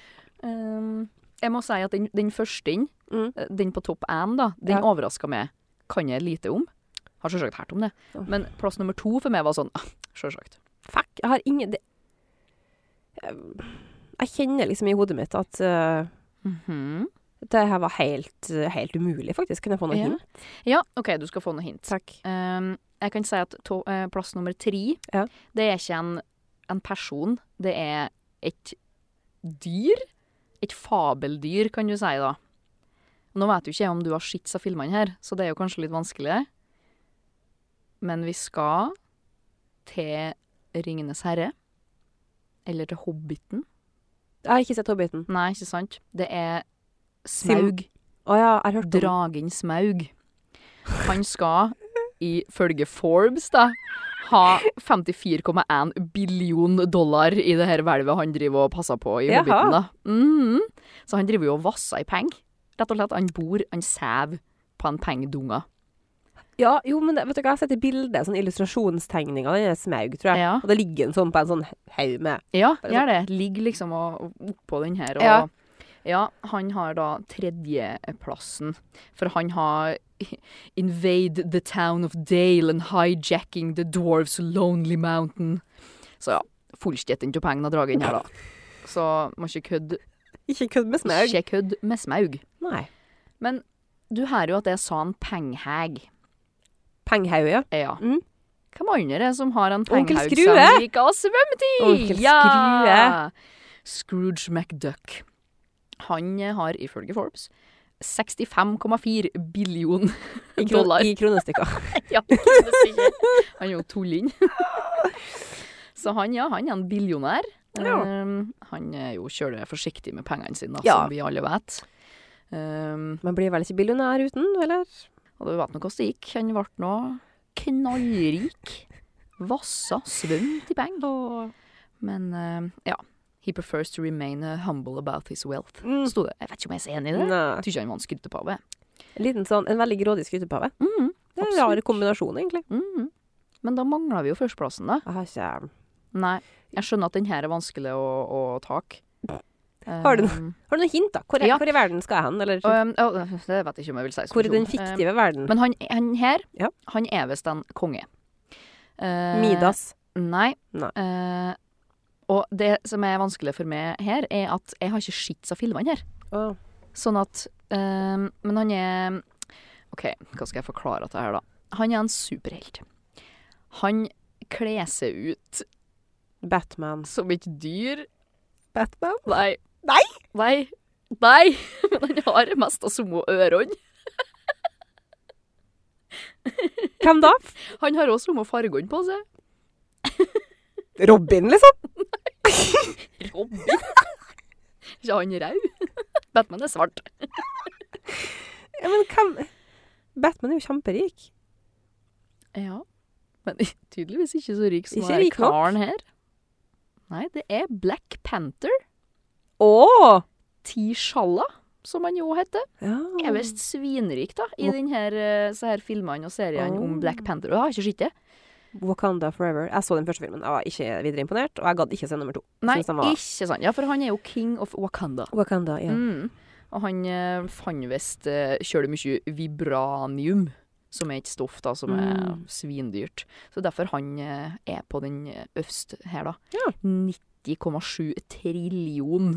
Ehm, jeg må si at den, den første inn, Mm. eh, den på topp én, da, den Ja. overraska meg. Kan jeg lite om. Har selvsagt hørt om det. Ja. Men plass nummer to for meg var sånn ah, Selvsagt. Fuck, jeg har ingen det, jeg, jeg kjenner liksom i hodet mitt at eh, Mhm. det her var helt, helt umulig, faktisk. Kan jeg få noen Ja. hint? Ja, OK, du skal få noe hint. Takk. Ehm, jeg kan si at to, eh, plass nummer tre, Ja. det er ikke en, en person, det er et dyr. Et fabeldyr, kan du si da. Nå vet jo ikke jeg om du har sett disse filmene her, så det er jo kanskje litt vanskelig. Men vi skal til Ringenes herre. Eller til Hobbiten. Jeg har ikke sett Hobbiten. Nei, ikke sant? Det er Sim- Smaug. Å ja, jeg har hørt om Dragen Smaug. Han skal, ifølge Forbes, da, ha 54,1 billion dollar i det her hvelvet han driver og passer på i Jaha. Hobbiten. da. Mhm. Så han driver jo og vasser i penger. Rett og slett. Han bor, han sev på en pengedunge. Ja, jo, men det, vet du hva, jeg har sett et bilde, sånn illustrasjonstegning av denne Smaug, tror jeg. Ja. Og da ligger han sånn på en sånn haug med Ja, gjør det. Ligger liksom og, og oppå den her. Og, Ja. ja. han har da tredjeplassen. For han har Invade the town of Dale and hijacking the dwarves lonely mountain. Så ja, fullstjetten til pengene av dragen her, da. Så må ikke kødde Ikke kødd med Smaug. Ikke kødd med Smaug. Nei. Men du hører jo at sånn jeg sa en penghag. Penghaug, ja. Ja. Mm. Hvem andre er det som har en Onkel penghaug Skrue? som liker å svømme til? Onkel Ja! Scrooge McDuck. Han eh, har ifølge Forbes 65,4 billion I, kro dollar. i kronestykker. Ja, det sier jeg. han er jo tulling. Så han, ja, han er en billionær. Ja. Um, han er jo kjører forsiktig med pengene sine, da, Ja. som vi alle vet. Um, Man blir vel ikke billionær uten, eller? og du vet nå hvordan det gikk. Han ble nå knallrik. Vassa, svømt i penger. Men eh, ja. He prefers to remain eh, humble about his wealth. Mm. Sto det. Jeg vet ikke om jeg er så enig i det. Nei. Jeg tror ikke han var en skrytepave. En liten sånn, en veldig grådig skrytepave. Mhm, Det er en absolutt. rar kombinasjon, egentlig. mhm. Men da mangla vi jo førsteplassen, da. Jeg har ikke... Nei. Jeg skjønner at den her er vanskelig å, å Um, take. Har du noe? Har du noen hint, da? Hvor, er, Ja. hvor i verden skal jeg hen? Eller um, det vet jeg ikke om jeg vil si. som hvor i den person. Eh, fiktive verden? men han, han her, Ja. han er visst en konge. Eh, Midas. Nei. Nei. Eh, og det som er vanskelig for meg her, er at jeg har ikke sett av filmene her. Å. Sånn at eh, Men han er OK, hva skal jeg forklare til her, da? Han er en superhelt. Han kler seg ut Batman. som et dyr. Batman? Nei. Nei? Nei. Nei. Men han har det meste av samme ørene. Hvem da? Han har også samme fargene på seg. Robin, liksom? Robin. Ikke han rød? Batman er svart. Ja, men hvem Batman er jo kjemperik. Ja. Men tydeligvis ikke så rik som Ikke den rik nok. karen her. Nei, det er Black Panther. Å! Tishala, som han jo heter. Ja. Er visst svinrik, da, i Å. den her, eh, så her filmene og seriene om Å. Black Panther. Og jeg har ikke sett det. Wakanda Forever. Jeg så den første filmen. Jeg var ikke videre imponert, og jeg gadd ikke se nummer to. Nei, Synes han var- ikke sant. Ja, for han er jo king of Wakanda. Wakanda, ja. Mm. Og han eh, fant visst eh, kjølig mye vibranium, som er et stoff da, som er Mm. svindyrt. Så derfor han eh, er på den eh, øverst her, da. Ja. 90,7 trillion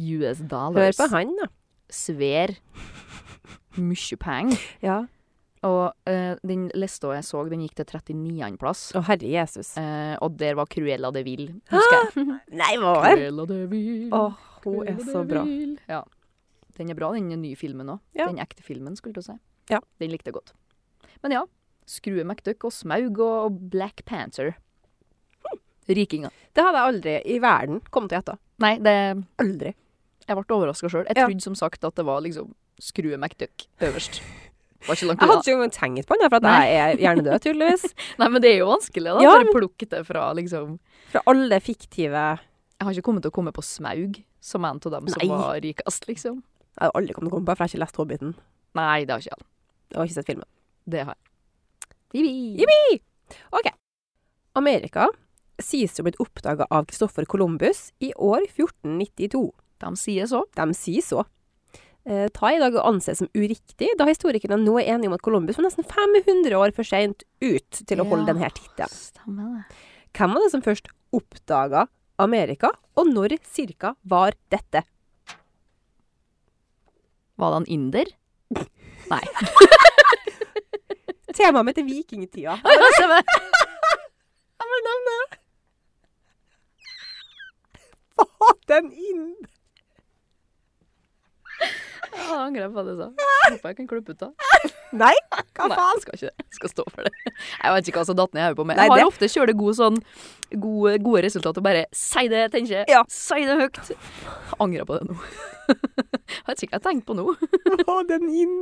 US Hør dollars. på han, da. Sver. Mye penger. Ja. Og eh, den lista jeg så, den gikk til 39. plass. Å, herre Jesus. Eh, og der var Cruella de Vil, Ah! husker jeg. Nei, hva Cruella de Vil. Å, hun er så bra. Ja. Den er bra, den nye filmen òg. Ja. Den ekte filmen, skulle du si. Ja. Den likte jeg godt. Men ja. Skrue McDuck og Smaug og Black Panther. Rikinga. Det hadde jeg aldri i verden kommet til å gjette. Nei, det Aldri. Jeg ble overraska sjøl. Jeg Ja. trodde som sagt at det var liksom Skrue McDuck øverst. Var ikke langt Jeg hadde unna. ikke engang tenkt på han, for at jeg er hjernedød, tydeligvis. Nei, men det er jo vanskelig, da. Ja, Bare plukke det fra, liksom. Fra alle fiktive Jeg har ikke kommet til å komme på Smaug som en av dem som Nei. var rikest, liksom. Jeg har aldri kommet til å komme på, for jeg har ikke lest Hobbiten. Nei, det har ikke jeg. Jeg har ikke sett filmen. Det har jeg. Amerika sies å ha blitt oppdaga av Christopher Columbus i år 1492. De sier så. De sier så. Eh, Ta i dag å anses som uriktig, da historikerne nå er enige om at Columbus var nesten 500 år for seint ut til å holde Ja. denne tittelen. Stemmer det. Hvem var det som først oppdaga Amerika, og når cirka var dette? Var det en inder? Nei. Temaet mitt er vikingtida. Jeg må nevne det! Faden inn! Jeg angrer på det jeg sa. Jeg Håper jeg kan klippe ut det. Nei, hva Nei, faen? jeg skal ikke det. Jeg skal stå for det. Jeg vet ikke hva som datt ned i hodet på meg. Nei, Jeg har det- ofte kjørt gode, sånn, gode, gode resultater og bare si det, tenker jeg. Ja. Si det høyt. Jeg angrer på det nå. Jeg vet ikke hva jeg tenker på nå. Faden inn!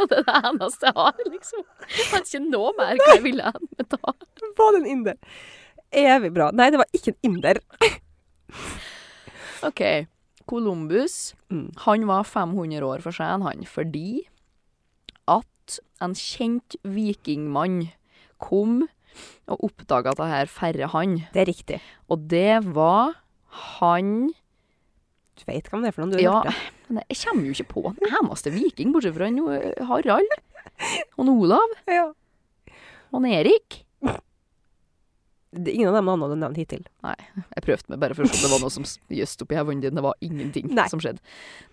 Og det er det eneste jeg har, liksom. Jeg kan ikke nå mer hva jeg ville hen med da. Faen, en inder. Evig bra. Nei, det var ikke en inder. OK. Columbus, Mm. han var 500 år for sen, han, fordi at en kjent vikingmann kom og oppdaga det her færre han. Det er riktig. Og det var han Du vet hvem det er for noen du har Ja, hørt det. men jeg kommer jo ikke på en eneste viking, bortsett fra han eh, Harald. Han Olav. Ja. Han Erik. Det er ingen av de navnene du har nevnt hittil. Jeg prøvde meg bare for å se om det var noe som s- jøst oppi hevene dine. Det var ingenting Nei. som skjedde.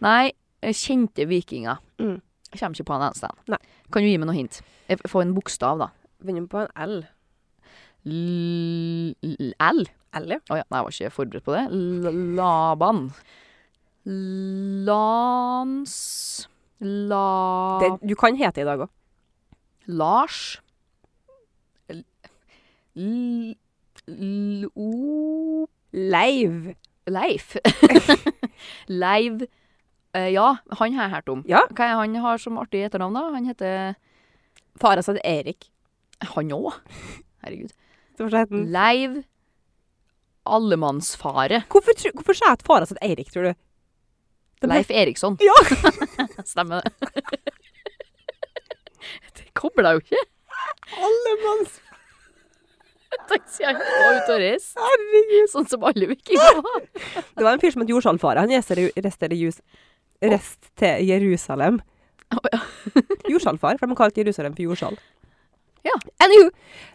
Nei, eh, kjente vikinger. Mm. Jeg kommer ikke på en eneste en. Nei. Kan du gi meg noe hint? Jeg f- Få en bokstav, da. Begynner på en L. L... L. L, ja. Å ja, nei, jeg var ikke forberedt på det. L Laban. Lans La... Det, du kan hete i dag òg. Lars. L... L... L... O... Leiv. Leif. Leiv eh, Ja, han har jeg hørt om. Ja. Hva er han har som artig etternavn, da? Han heter Faren sa til Erik. Han òg? Herregud. Det var så het han. Leiv Allemannsfare. Hvorfor, tru- hvorfor sa jeg at faren sa til Erik, tror du? Det ble- Leif Eriksson. Ja. Stemmer det. Det kobler jo ikke. Allemanns... Tenk siden han var ute og reiste, Herregud. sånn som alle vikinger var. Det var en fyr som het Jorsalfare. Han gjester i- rester i Jus... Rest til Jerusalem. Å, ja. Jorsalfar, for de har kalt Jerusalem for Jorsal. Ja. Anywho,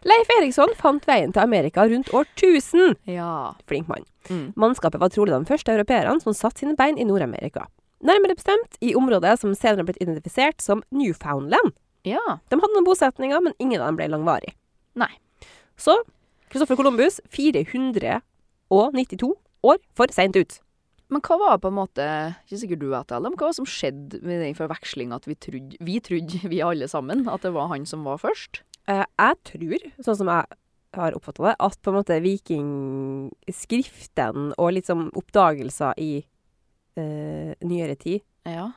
Leif Eriksson fant veien til Amerika rundt år 1000. ja. Flink mann. Mm. Mannskapet var trolig de første europeerne som satte sine bein i Nord-Amerika. Nærmere bestemt i området som senere ble identifisert som Newfoundland. Ja. De hadde noen bosetninger, men ingen av dem ble langvarig. Nei. Så Christopher Columbus 492 år for seint ut. Men hva var på en måte, ikke sikkert du vet det, Ellen, men hva var det som skjedde med den forvekslinga at vi trodde, vi trodde, vi alle sammen, at det var han som var først? Eh, jeg tror, sånn som jeg har oppfatta det, at på en måte vikingskriften og liksom oppdagelser i eh, nyere tid Ja.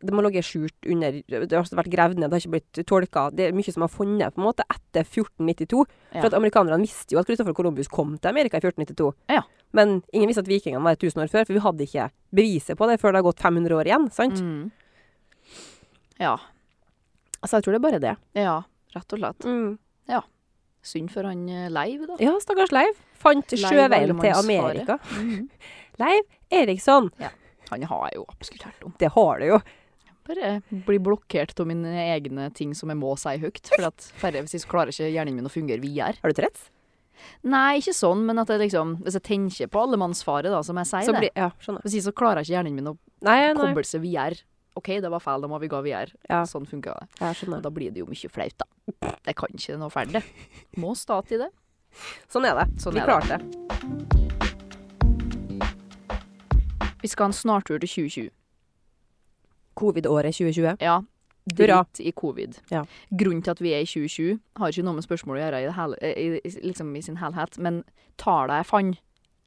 det må ligge skjult under Det har også vært gravd ned, det har ikke blitt tolka. Det er mye som har funnet på en måte etter 1492. Ja. For at amerikanerne visste jo at Christopher Columbus kom til Amerika i 1492. Ja. Men ingen visste at vikingene var 1000 år før, for vi hadde ikke beviset på det før det har gått 500 år igjen. sant? Mm. Ja. Altså, jeg tror det er bare det. Ja, rett og slett. Synd for han eh, Leiv, da. Mm. Ja, stakkars Leiv. Fant Leiv sjøveien til allemannsfare. Amerika. Mhm. Leiv Eriksson. Han har jeg jo absolutt hørt om. Det har du jo. Bare blir blokkert av mine egne ting som jeg må si høyt. For at færre, hvis jeg så klarer ikke hjernen min å fungere videre. Har du Tourettes? Nei, ikke sånn, men at jeg liksom, hvis jeg tenker på allemannsfare, da, som jeg sier Så det, blir- Ja, skjønner. hvis jeg så klarer ikke hjernen min å Nei, nei. koblelse vi gjør. OK, det var feil, da må vi gå videre. Ja. Sånn funka det. Og Jeg skjønner. da blir det jo mye flaut, da. Det kan ikke noe ferdig. Må stå til det. Sånn er det. Sånn vi er det. klarte det. Vi skal ha en snartur til 2020. Covid-året 2020. Ja. Hurra. Drit i covid. Ja. Grunnen til at vi er i 2020, har ikke noe med spørsmålet å gjøre i, det hele, eh, i, i, liksom i sin helhet, men tallene jeg fant,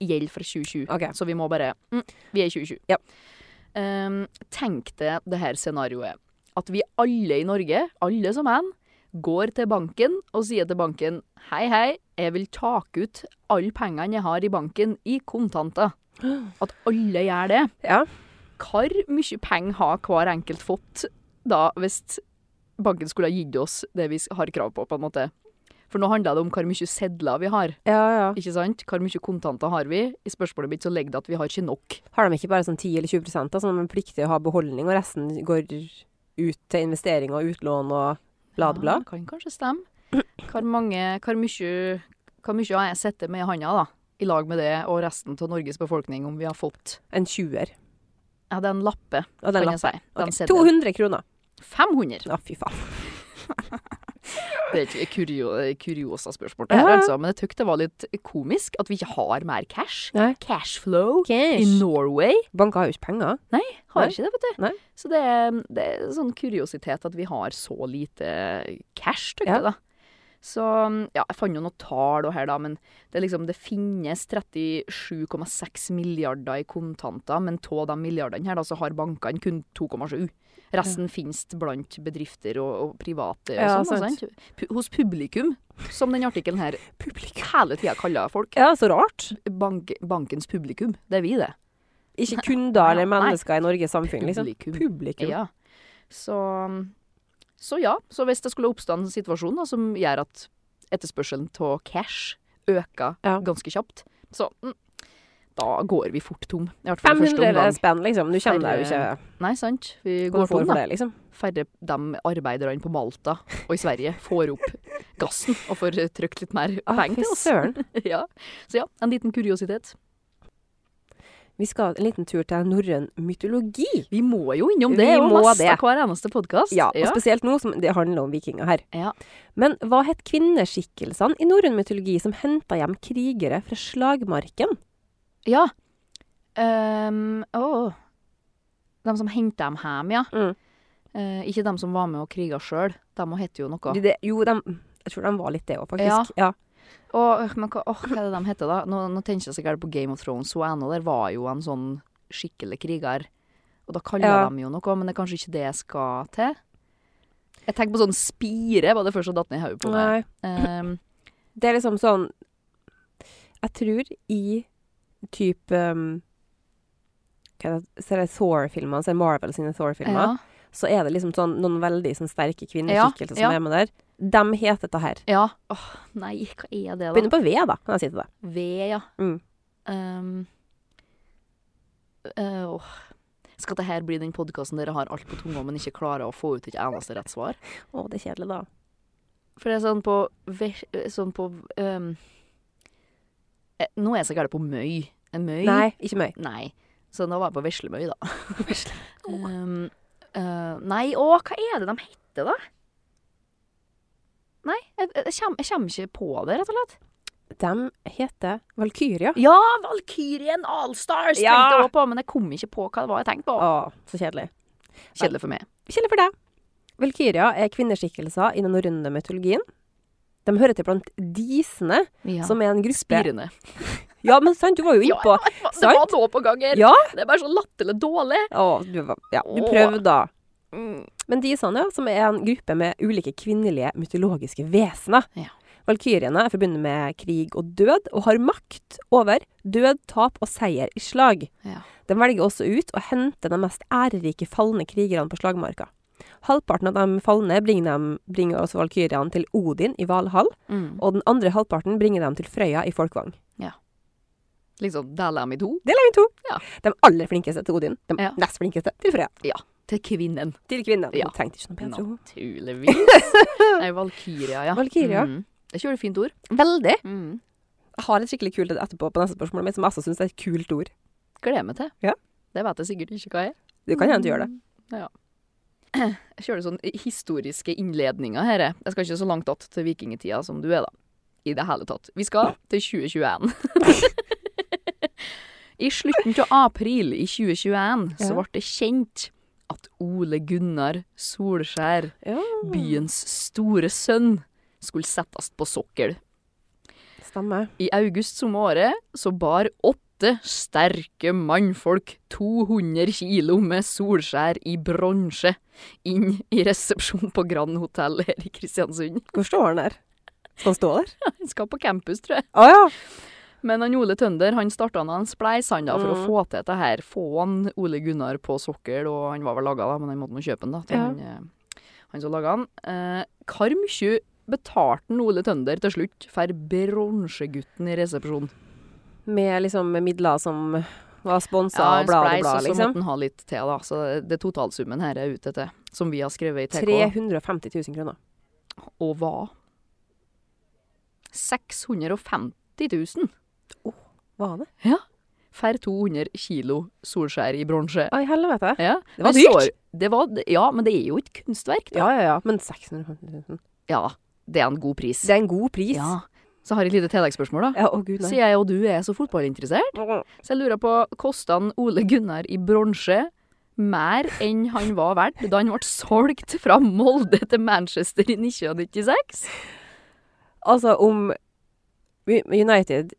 gjelder fra 2020. Ok. Så vi må bare mm, Vi er i 2020. Ja. Ehm, tenk deg det her scenarioet. At vi alle i Norge, alle som en, går til banken og sier til banken hei, hei, jeg vil take ut alle pengene jeg har i banken i kontanter. At alle gjør det. Ja. Hvor mye penger har hver enkelt fått da hvis banken skulle ha gitt oss det vi har krav på, på en måte? For nå handler det om hvor mye sedler vi har, ja, ja. ikke sant? Hvor mye kontanter har vi? I spørsmålet mitt så ligger det at vi har ikke nok. Har de ikke bare sånn 10 eller 20 da, som de er pliktige å ha beholdning, og resten går ut til investering og utlån og bla, bla? Ja, det kan kanskje stemme. Hvor, mange, hvor, mye, hvor mye har jeg sett med i handa, da? I lag med det og resten av Norges befolkning, om vi har fått En 20-er. Ja, det er en lappe, Og den kan lappen. jeg si. Den Ok, seddelen. 200 kroner. 500! Å, fy faen. Det er ikke kurio, kuriosa spørsmål, det her, Ja. altså. Men jeg syns det var litt komisk at vi ikke har mer cash. Nei. Cashflow i Cash. Norway Banker har jo ikke har penger. Nei. ikke det, vet du. Nei. Så det, er- det er en sånn kuriositet at vi har så lite cash, tykte Ja. jeg da. Så ja, jeg fant jo noen tall og her da, men det, er liksom, det finnes 37,6 milliarder i kontanter, men av de milliardene her da, så har bankene kun 2,7. Resten finnes blant bedrifter og, og private og Ja, sånn, og sant. sant? Pu- Hos publikum, som den artikkelen her Publikum. hele tida kaller folk. Ja, så rart. Bank, bankens publikum, det er vi det. Ikke kunder eller Nei. mennesker i Norges samfunn, liksom. Publikum. Publikum. Ja. Så, så ja, så hvis det skulle oppstå en situasjon da, som gjør at etterspørselen av cash øker Ja. ganske kjapt, så mm, da går vi fort tom. I hvert fall i første 500 omgang. spenn, liksom. Du kommer deg jo ikke Nei, sant? Vi Går går for tom, da. det, liksom. Færre de arbeiderne på Malta og i Sverige får opp gassen og får eh, trykt litt mer Å, penger Ah, fy til oss. søren. Ja. Så ja, en liten kuriositet. Vi skal en liten tur til norrøn mytologi. Vi må jo innom Vi det, og må nesten det. hver eneste podkast. Ja, og spesielt nå som det handler om vikinger her. Ja. Men hva het kvinneskikkelsene i norrøn mytologi som henta hjem krigere fra slagmarken? Ja. Um, å. De som henta dem hjem, ja. Mm. Eh, ikke de som var med og kriga sjøl. De må hette jo noe. Det, jo, de, jeg tror de var litt det òg, faktisk. Ja. Og, øh, men hva, åh, hva er det de heter, da? Nå, nå tenker jeg sikkert på Game of Thrones. Suana der var jo en sånn skikkelig kriger. Og da kaller Ja. de jo noe, men det er kanskje ikke det jeg skal til. Jeg tenker på sånn spire, var det første som datt ned i hodet på meg. Nei. Um, Det er liksom sånn Jeg tror i type um, hva er det, så er det Thor-filmer, så er det Marvel sine Thor-filmer, ja, så er det liksom sånn noen veldig sånn sterke Ja, kvinneskikkelser ja. som er med der. De heter dette her. ja. Åh, nei, hva er det, da? Begynner på V, da, kan jeg si til deg. Ved, ja. Mm. Ehm, eh, åh. Skal dette her bli den podkasten dere har alt på tunga, men ikke klarer å få ut et eneste rett svar? Å, det er kjedelig, da. For det er sånn på, ve- eh, sånn på ehm, eh, Nå er jeg så gæren på møy. En møy? Nei, ikke meg. Nei. Så da var jeg på veslemøy, da. Ehm, eh, nei, å, hva er det de heter, da? Nei, jeg, jeg, jeg kommer- jeg kommer ikke på det, rett og slett. De heter Valkyrja. Ja, Valkyrien Allstars Ja! tenkte jeg også på, men jeg kom ikke på hva det var jeg tenkte på. Å, så kjedelig. Kjedelig for meg. Kjedelig for deg. Valkyrja er kvinneskikkelser i den norrøne mytologien. De hører til blant disene, Ja. som er en gruppe Spirende. Ja, men sant, du var jo Ja, innpå. det var- det sant? var nå på gang her. Ja. Det er bare så latterlig dårlig. Mm. Å, du, var, ja, du Å. prøvde, da. Men disene, ja, som er en gruppe med ulike kvinnelige mytologiske vesener. Ja. Valkyriene er forbundet med krig og død, og har makt over død, tap og seier i slag. Ja. De velger også ut å hente de mest ærerike falne krigerne på slagmarka. Halvparten av de falne bringer, dem, bringer også valkyrjene til Odin i Valhall, Mm. og den andre halvparten bringer dem til Frøya i Folkvang. Liksom, deler jeg dem i to. Det er vi to. Ja. De aller flinkeste til Odin, de Ja. nest flinkeste til Frøya. Til kvinnen. Til kvinnen. Ja. Hun trengte ikke noe bedre. hun. Naturligvis. Nei, Valkyria, ja. Valkyria. Mm. Det er ikke veldig fint ord. Veldig. Mm. Jeg har et skikkelig kult et etterpå på neste spørsmålet mitt, som jeg også syns er et kult ord. Gleder meg til. Ja. Det vet jeg sikkert ikke hva jeg er. Du kan hende du gjør det. Mm, Ja. Jeg kjører sånn historiske innledninger her. jeg. Jeg skal ikke så langt att til vikingtida som du er, da. I det hele tatt. Vi skal til 2021. I slutten av april i 2021 så Ja. ble det kjent at Ole Gunnar Solskjær, Ja. byens store sønn, skulle settes på sokkel. Stemmer. I august samme året så bar åtte Åtte sterke mannfolk, 200 kilo med Solskjær i bronse, inn i resepsjonen på Grand Hotell her i Kristiansund. Hvor står han der? Skal han stå der? Han skal på campus, tror jeg. Å ja! Men han Ole Tønder han starta en spleis han da, for å Mm. få til dette her. Få han Ole Gunnar på sokkel, og han var vel laga, da, men han måtte nå kjøpe den, da. Til Ja. han, eh, han som laga den. Eh, hvor mye betalte han Ole Tønder til slutt for bronsegutten i resepsjonen? Med liksom midler som var sponsa Ja, og en bla, bla, spleis, bla, og så liksom. måtte han ha litt til, da. Så det er totalsummen her er ute etter, som vi har skrevet i TK. 350 000 kroner. Og hva? 650 000 Var det? for 200 kilo Solskjær i bronse. Å, i helvete. Ja. Det men var dyrt. står- Det var, ja, men det er jo et kunstverk, da. Ja, ja, ja. Men 650 000 Ja, det er en god pris. Det er en god pris. Ja. Så har jeg et lite tilleggsspørsmål, da. Ja, å gud, nei. Siden jeg og du er så fotballinteressert, så jeg lurer på kosta han Ole Gunnar i bronse mer enn han var verdt da han ble solgt fra Molde til Manchester i 1996? Altså, om United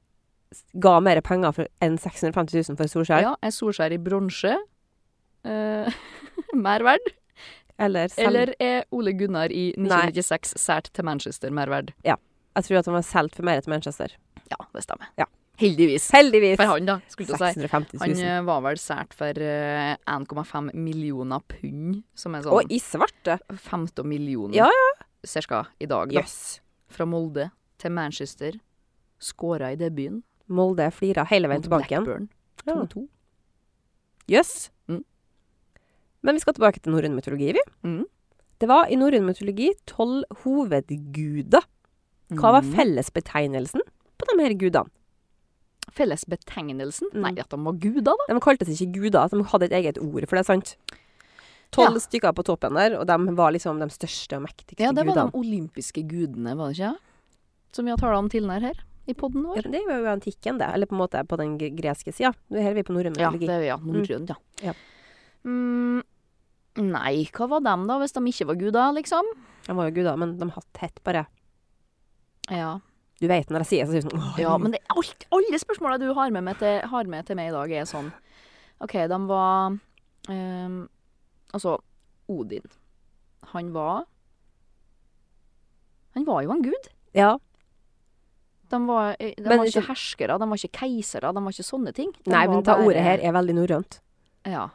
ga mer penger for, enn 650 000 for Solskjær, Ja, er Solskjær i bronse eh, mer verd? eller selv Eller er Ole Gunnar i Nei. 1996 sært til Manchester mer verd? Jeg tror at han var solgt for mer til Manchester. Ja, det stemmer. Ja. Heldigvis. Heldigvis! For han, da, skulle jeg til å si. 650 Han 000. eh, var vel sært for eh, 1,5 millioner pund, som er Og sånn i svarte! 15 millioner Ja, cirka i dag. Da. Jøss. Fra Molde til Manchester. Skåra i debuten Molde flira hele veien mot tilbake igjen. Blackburn. Ja. 2-2. Jøss. Mm. Men vi skal tilbake til norrøn mytologi, vi. Mm. Det var i norrøn mytologi tolv hovedguder. Hva var Mm. fellesbetegnelsen på de her gudene? Fellesbetegnelsen? Mm. Nei, at de var guder, da. De kaltes ikke guder, de hadde et eget ord for det, sant? Tolv Ja. stykker på toppen der, og de var liksom de største og mektigste Ja, det var gudene. de olympiske gudene, var det ikke? Som vi har tala om tidligere her i podden Ja, vår. det var jo antikken, det. Eller på en måte på den gre- greske sida. Nå er vi på norrøn Ja, mytologi. det er ja, norrønt, ja. Ja. Mm, nei, hva var dem, da, hvis de ikke var guder, liksom? De var jo guder, men de hatt hett bare Ja. Du vet når jeg sier det, så sier du sånn «Åh, Ja, men det, alt, alle spørsmåla du har med, meg til, har med til meg i dag, er sånn OK, de var ehm, Altså, Odin. Han var Han var jo en gud. ja. De var, eh, de Men var ikke- ikke herskere, de var ikke keisere, de var ikke sånne ting. De Nei, var men ta bare- ordet her er veldig norrønt. Ja.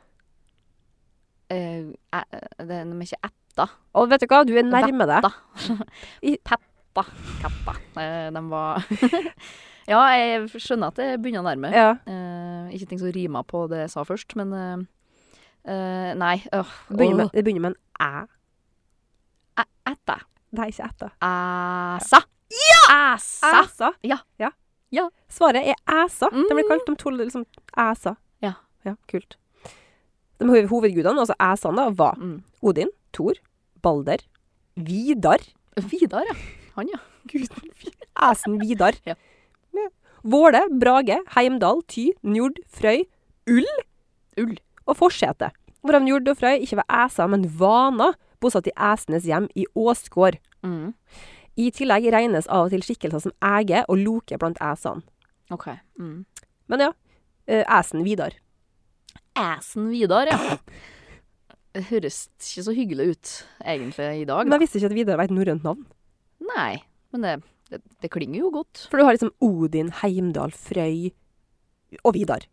Eh, eh, det er de er ikke etta. Og vet du hva, du er nærme deg. Vetta. Petta. Kappa. Eh, de var Ja, jeg skjønner at det begynner å nærme. Ja. Eh, ikke ting som rimer på det jeg sa først, men eh, eh, Nei. Øh, Det begynner åh. med, det begynner med en æ. Æ- Ætta. Nei, ikke æta. Æsa. Ja! Æsa. Æsa. Ja. ja. Ja. Svaret er æsa. Mm. De ble kalt de tolv liksom æsa. Ja. ja. Kult. De hov- hovedgudene, altså æsene, da, var Mm. Odin, Thor, Balder, Vidar Vidar, ja. Han, ja. Guden Æsen Vidar. Ja. Ja. Våle, Brage, Heimdal, Ty, Njord, Frøy Ull. og Forsete. Hvorav Njord og Frøy ikke var æser, men vaner, bosatt i æsenes hjem i Åsgård. Mm. I tillegg regnes av og til skikkelser som Ege og Loke blant æsene. OK. Mm. Men ja, eh, æsen Vidar. Æsen Vidar, ja. Det høres ikke så hyggelig ut, egentlig, i dag. Men jeg visste ikke at Vidar var et norrønt navn. Nei, men det, det, det klinger jo godt. For du har liksom Odin, Heimdal, Frøy og Vidar.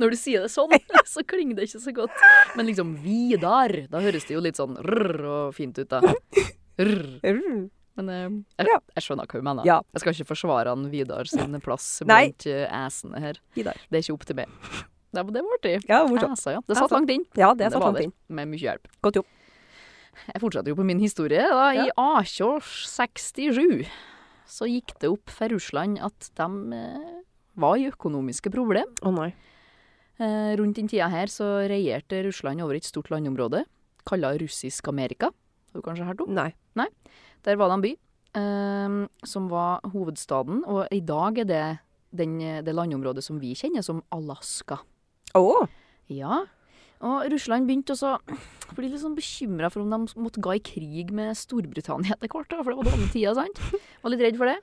Når du sier det sånn, så klinger det ikke så godt. Men liksom Vidar, da høres det jo litt sånn rrr og fint ut, da. Rrr. Mm. Men eh, jeg, Ja. jeg skjønner hva hun mener. Ja. Jeg skal ikke forsvare han Vidar sin plass Nei. blant eh, æsene her. Vidar. Det er ikke opp til meg. Det var det var artig. Ja, morsomt. Æsa, ja. Det satt Æsa. langt inn. Ja, det men er satt var langt der, inn. Med mye hjelp. Godt jobb. Jeg fortsetter jo på min historie. da. I Ja. Akjås 67 så gikk det opp for Russland at de eh, var i økonomiske problemer. Å nei. Eh, rundt den tida her så regjerte Russland over et stort landområde kalla Russisk Amerika. Har du kanskje hørt om? Nei. Der var det en by eh, som var hovedstaden, og i dag er det den, det landområdet som vi kjenner som Alaska. Å! Ja, og Russland begynte også å bli litt sånn bekymra for om de måtte gå i krig med Storbritannia etter hvert, da, for det var dårlige tider, sant? Var litt redd for det.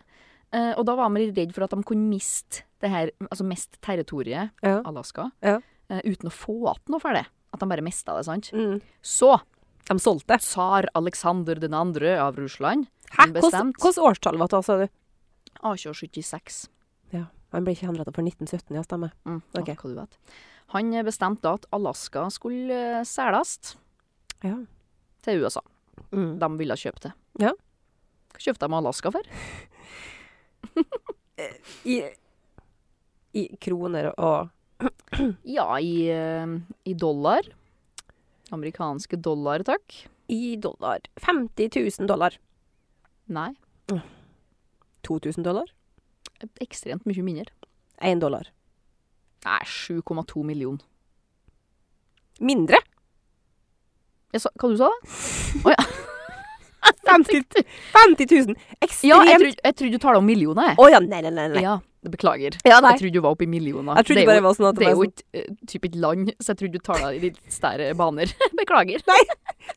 Eh, og da var vi redd for at de kunne miste det her, altså mest territoriet, Ja. Alaska, Ja. eh, uten å få igjen noe for det. At de bare mista det, sant. Mm. Så De solgte. tsar Aleksander 2. av Russland, Hæ? Men bestemt. Hvilket årstall var det, da, sa du? A276 Ja, Han ble ikke henrettet for 1917, ja, stemmer. mm, Ok. ah, hva du vet. Han eh, bestemte da at Alaska skulle eh, selges Ja. til USA. Mm. De ville kjøpe det. Ja. Hva kjøpte de Alaska for? I, I kroner og Ja, i, eh, i dollar. Amerikanske dollar, takk. I dollar. 50 000 dollar. Nei, 2000 dollar. ekstremt mye mindre. 1 dollar. Nei, 7,2 millioner. Mindre? Jeg sa, hva du sa du? 50, 50 000! Ja, jeg Ekstremt! trodde, jeg trodde du taler om millioner, Å jeg. ja, nei, nei, nei. nei. Ja, det beklager. Ja, nei. Jeg trodde du var oppe i millioner. Jeg trodde det er bare det jo, var sånn at det er jo var ikke eh, typ et land, så jeg trodde du taler i litt større baner. Beklager. sånn,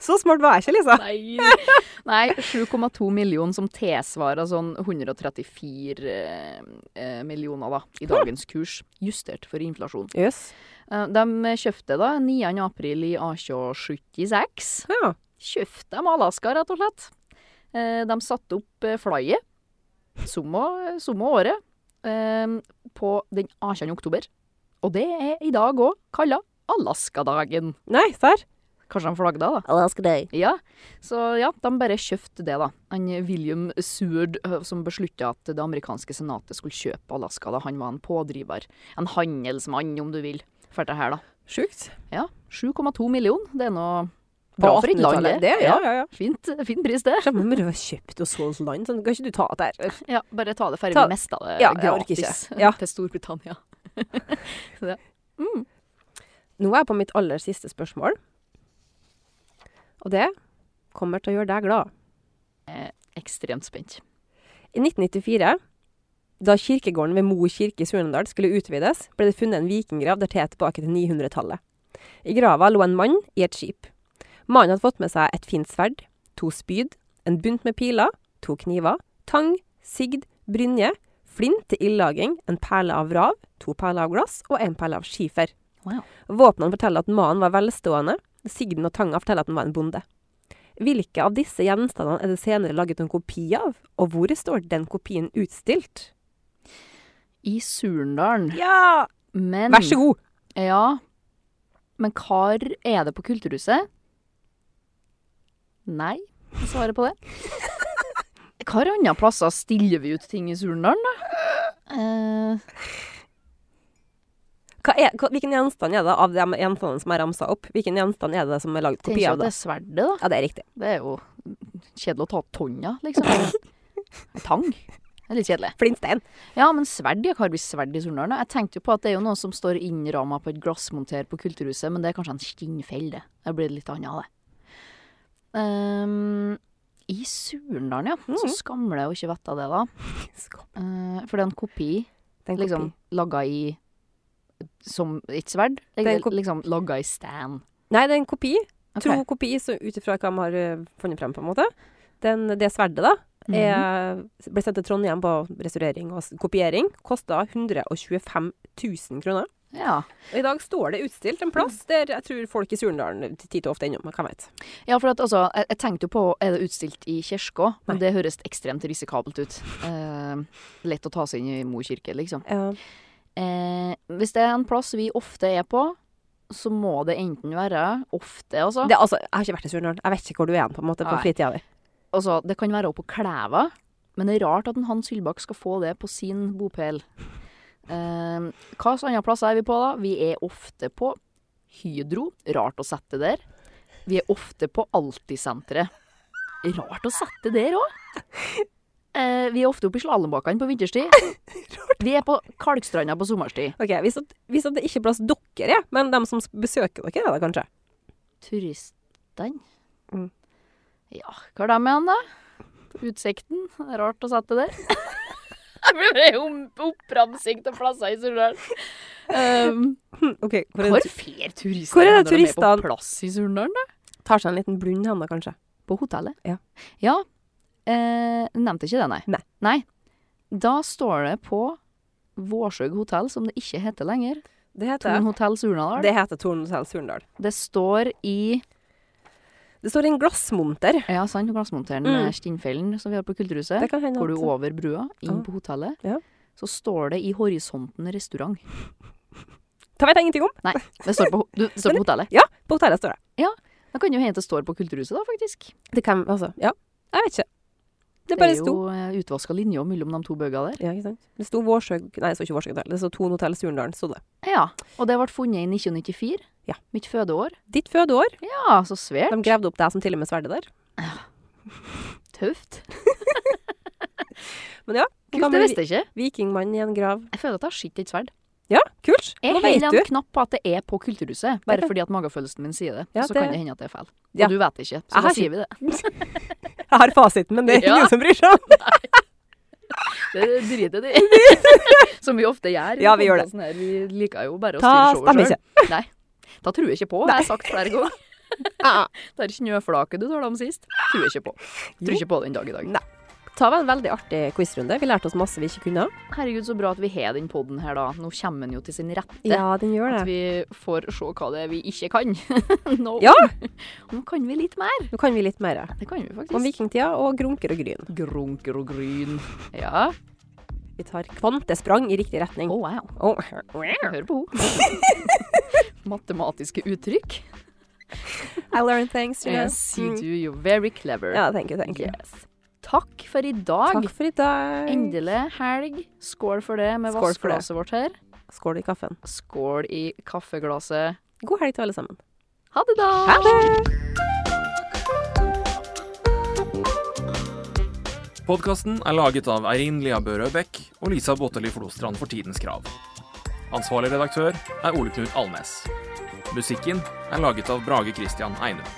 Så smart var jeg ikke, Lisa. Nei, Nei 7,2 millioner som tilsvarer sånn 134 eh, eh, millioner da, i dagens kurs, justert for inflasjon. Jøss. Eh, De kjøpte da 9. april i A276. Ja. kjøpte dem Alaska, rett og slett. Eh, De satte opp eh, flyet, samme samme året, eh, på den 18. oktober. Og det er i dag òg kalla Alaskadagen. Nei, serr? Kanskje de flagga, da? Alaska Day. Ja. Så ja, de bare kjøpte det, da. Han William Seward eh, som beslutta at det amerikanske senatet skulle kjøpe Alaska, da han var en pådriver. En handelsmann, om du vil, for det her, da. Sjukt. Ja. 7,2 millioner, det er nå På bra for et land, 1800-tallet. Det, ja, ja, ja. Fint, fin pris, det. Skjønner du, men det var kjøpt og solgt land, sånn, kan ikke du ta det her? Ja, bare ta det ferdig. Ta- Vi mista det Ja, jeg orker gratis ikke. Ja. til Storbritannia. Nå er jeg på mitt aller siste spørsmål. Og det kommer til å gjøre deg glad. Ekstremt spent. I 1994, da kirkegården ved Mo kirke i Surnadal skulle utvides, ble det funnet en vikinggrav datert tilbake til 900-tallet. I grava lå en mann i et skip. Mannen hadde fått med seg et fint sverd, to spyd, en bunt med piler, to kniver, tang, sigd, brynje, flint til ildlaging, en perle av rav, to perler av glass og en perle av skifer. Wow. Våpnene forteller at mannen var velstående, sigden og tanga forteller at han var en bonde. Hvilke av disse gjenstandene er det senere laget en kopi av, og hvor står den kopien utstilt? I Surndalen. Ja! Men Vær så god! Ja. Men hva er det på Kulturhuset? Nei, er svaret på det. Hva andre plasser stiller vi ut ting i Surndalen, da? Eh, Hva er, hva, hvilken gjenstand er det av de gjenstandene som er ramsa opp? Hvilken gjenstand er det som er laget kopi tenker av? at det Det? er sverdet, da. Ja, det er riktig. Det er jo kjedelig å ta tonna, liksom. Tang. Det er litt kjedelig. Flintstein. Ja, men sverd, ja, hva har vi sverd i Surnadal? Jeg tenkte jo på at det er jo noe som står innramma på et glassmonter på Kulturhuset, men det er kanskje en skinnfell, det. Der blir det litt annet av det. Ehm, I Surndalen, ja. Mm. Så skamler jeg jo ikke vettet av det, da. Skål. Eh, for det er en kopi, Det er en kopi. liksom, laga i Som et sverd? er en Liksom, kopi. liksom laga i stand. Nei, det er en kopi. Ok. Tro kopi, så ut ifra hva de har eh, funnet frem, på en måte. Den, det sverdet, da, Mhm. er, Mm. Eh, ble sendt til Trondheim på restaurering og s- kopiering. Kosta 125 000 kroner. Ja. Og I dag står det utstilt en plass der jeg tror folk i Surndalen titt og ofte innom. Hvem vet. Ja, for at, altså, jeg, jeg tenkte jo på Er det utstilt i kirka? Men Nei. det høres ekstremt risikabelt ut. Eh, lett å ta seg inn i Mo kirke, liksom. Eh, hvis det er en plass vi ofte er på, så må det enten være ofte, altså. Det, er altså, jeg har ikke vært i Surndalen. Jeg vet ikke hvor du er hen, på en måte, på Nei. fritida di. altså det kan være oppe på Klæva, men det er rart at en Hans Hylbakk skal få det på sin bopel. Eh, hva slags andre plasser er vi på, da? Vi er ofte på Hydro. Rart å sette der. Vi er ofte på Alltid-senteret. Rart å sette der òg. Eh, vi er ofte oppe i slalåmbakkene på vinterstid. Vi er på Kalkstranda på sommerstid. Ok, hvis, at, hvis at det ikke er plass dere er, men dem som s- besøker dere, er det kanskje? Turistene? Mm. Ja, hva er det med han da? Utsikten? Det er Rart å sette der. Jeg blir bare om- oppramsing til plasser i Surndal. Um, Hm, Ok, hvor er hvor det? fer turistene Hvor er det når de på turistene? plass i Surndal, da? Tar seg en liten blund hen, da, kanskje. På hotellet? Ja. Ja. Eh, nevnte ikke det, nei. Nei. Da står det på Vårsøg hotell, som det ikke heter lenger. Det heter, Thon hotell Surnadal. Det. det heter Torn hotell Surndal. står i Det står en glassmonter. Ja, sant, glassmonteren Mm. med Stinnfellen som vi har på Kulturhuset. Det kan hende Går du at- over brua, inn Ah. på hotellet, Ja. så står det i horisonten restaurant. Det vet jeg ingenting om. Det står på, du, det står Men- på hotellet. Ja, på hotellet står det. Da kan jo hende det står på Kulturhuset, da, faktisk. Det kan, altså, ja. Jeg vet ikke. Det bare sto. Det er jo eh, utvaska linjer mellom de to bøgene der. Ja, ikke sant? Det sto Vårsøg... Nei, det sto ikke Vårsøg Hotel. Det sto Thon hotell Surndalen, sto det. Ja, og det ble funnet i 1994. Ja. Mitt fødeår. Ditt fødeår. Ja, så svært. De gravde opp deg som til og med sverdet der. Tøft. En Kult, det gammel visste jeg ikke. vikingmann i en grav. Jeg føler at jeg har sett et sverd. Ja, kult. Jeg Nå vet holder du. en knapp på at det er på Kulturhuset, bare kan- fordi at magefølelsen min sier det. Ja, så det- kan det hende at det er feil. Og Ja. du vet det ikke, Jeg så har da sier vi det. Jeg har fasiten, men det er Ja. ingen som bryr seg om. Det driter jeg i. Som vi ofte gjør. i Ja, vi gjør det. podcasten Her. Vi liker jo bare å Ta styre showet stemmer sjøl. Nei. Da tror jeg ikke på, har jeg sagt flere ganger. Det er snøflaket du talte om sist. Tror jeg ikke på. Tror ikke på den dag i dag. Nei. Ta vel en veldig artig quizrunde. Vi lærte oss masse vi ikke kunne. Herregud, så bra at vi har den poden her, da. Nå kommer den jo til sin rette. den gjør At vi får se hva det er vi ikke kan. Nå. Ja. Nå kan vi litt mer. Nå kan vi litt mer. Det kan vi Om faktisk. vikingtida og grunker og gryn. Grunker og gryn. Ja. Vi tar kvantesprang i riktig retning. Å, wow. Oh. Hør på henne. Matematiske uttrykk. Eh, I learn things, you know. Yes, you Mm. do. You're very clever. Ja, thank you, thank you. Yes. Takk for i dag. Takk for i dag. Endelig helg. Skål for det med Skål for det. vaskeglasset vårt her. Skål i kaffen. Skål i kaffeglasset. God helg til alle sammen. Ha det, da. Ha det! Podkasten er laget av Eirin Lia Børø Bech og Lisa Botteli Flostrand for Tidens Krav. Ansvarlig redaktør er Ole Knut Alnes. Musikken er laget av Brage Christian Einum.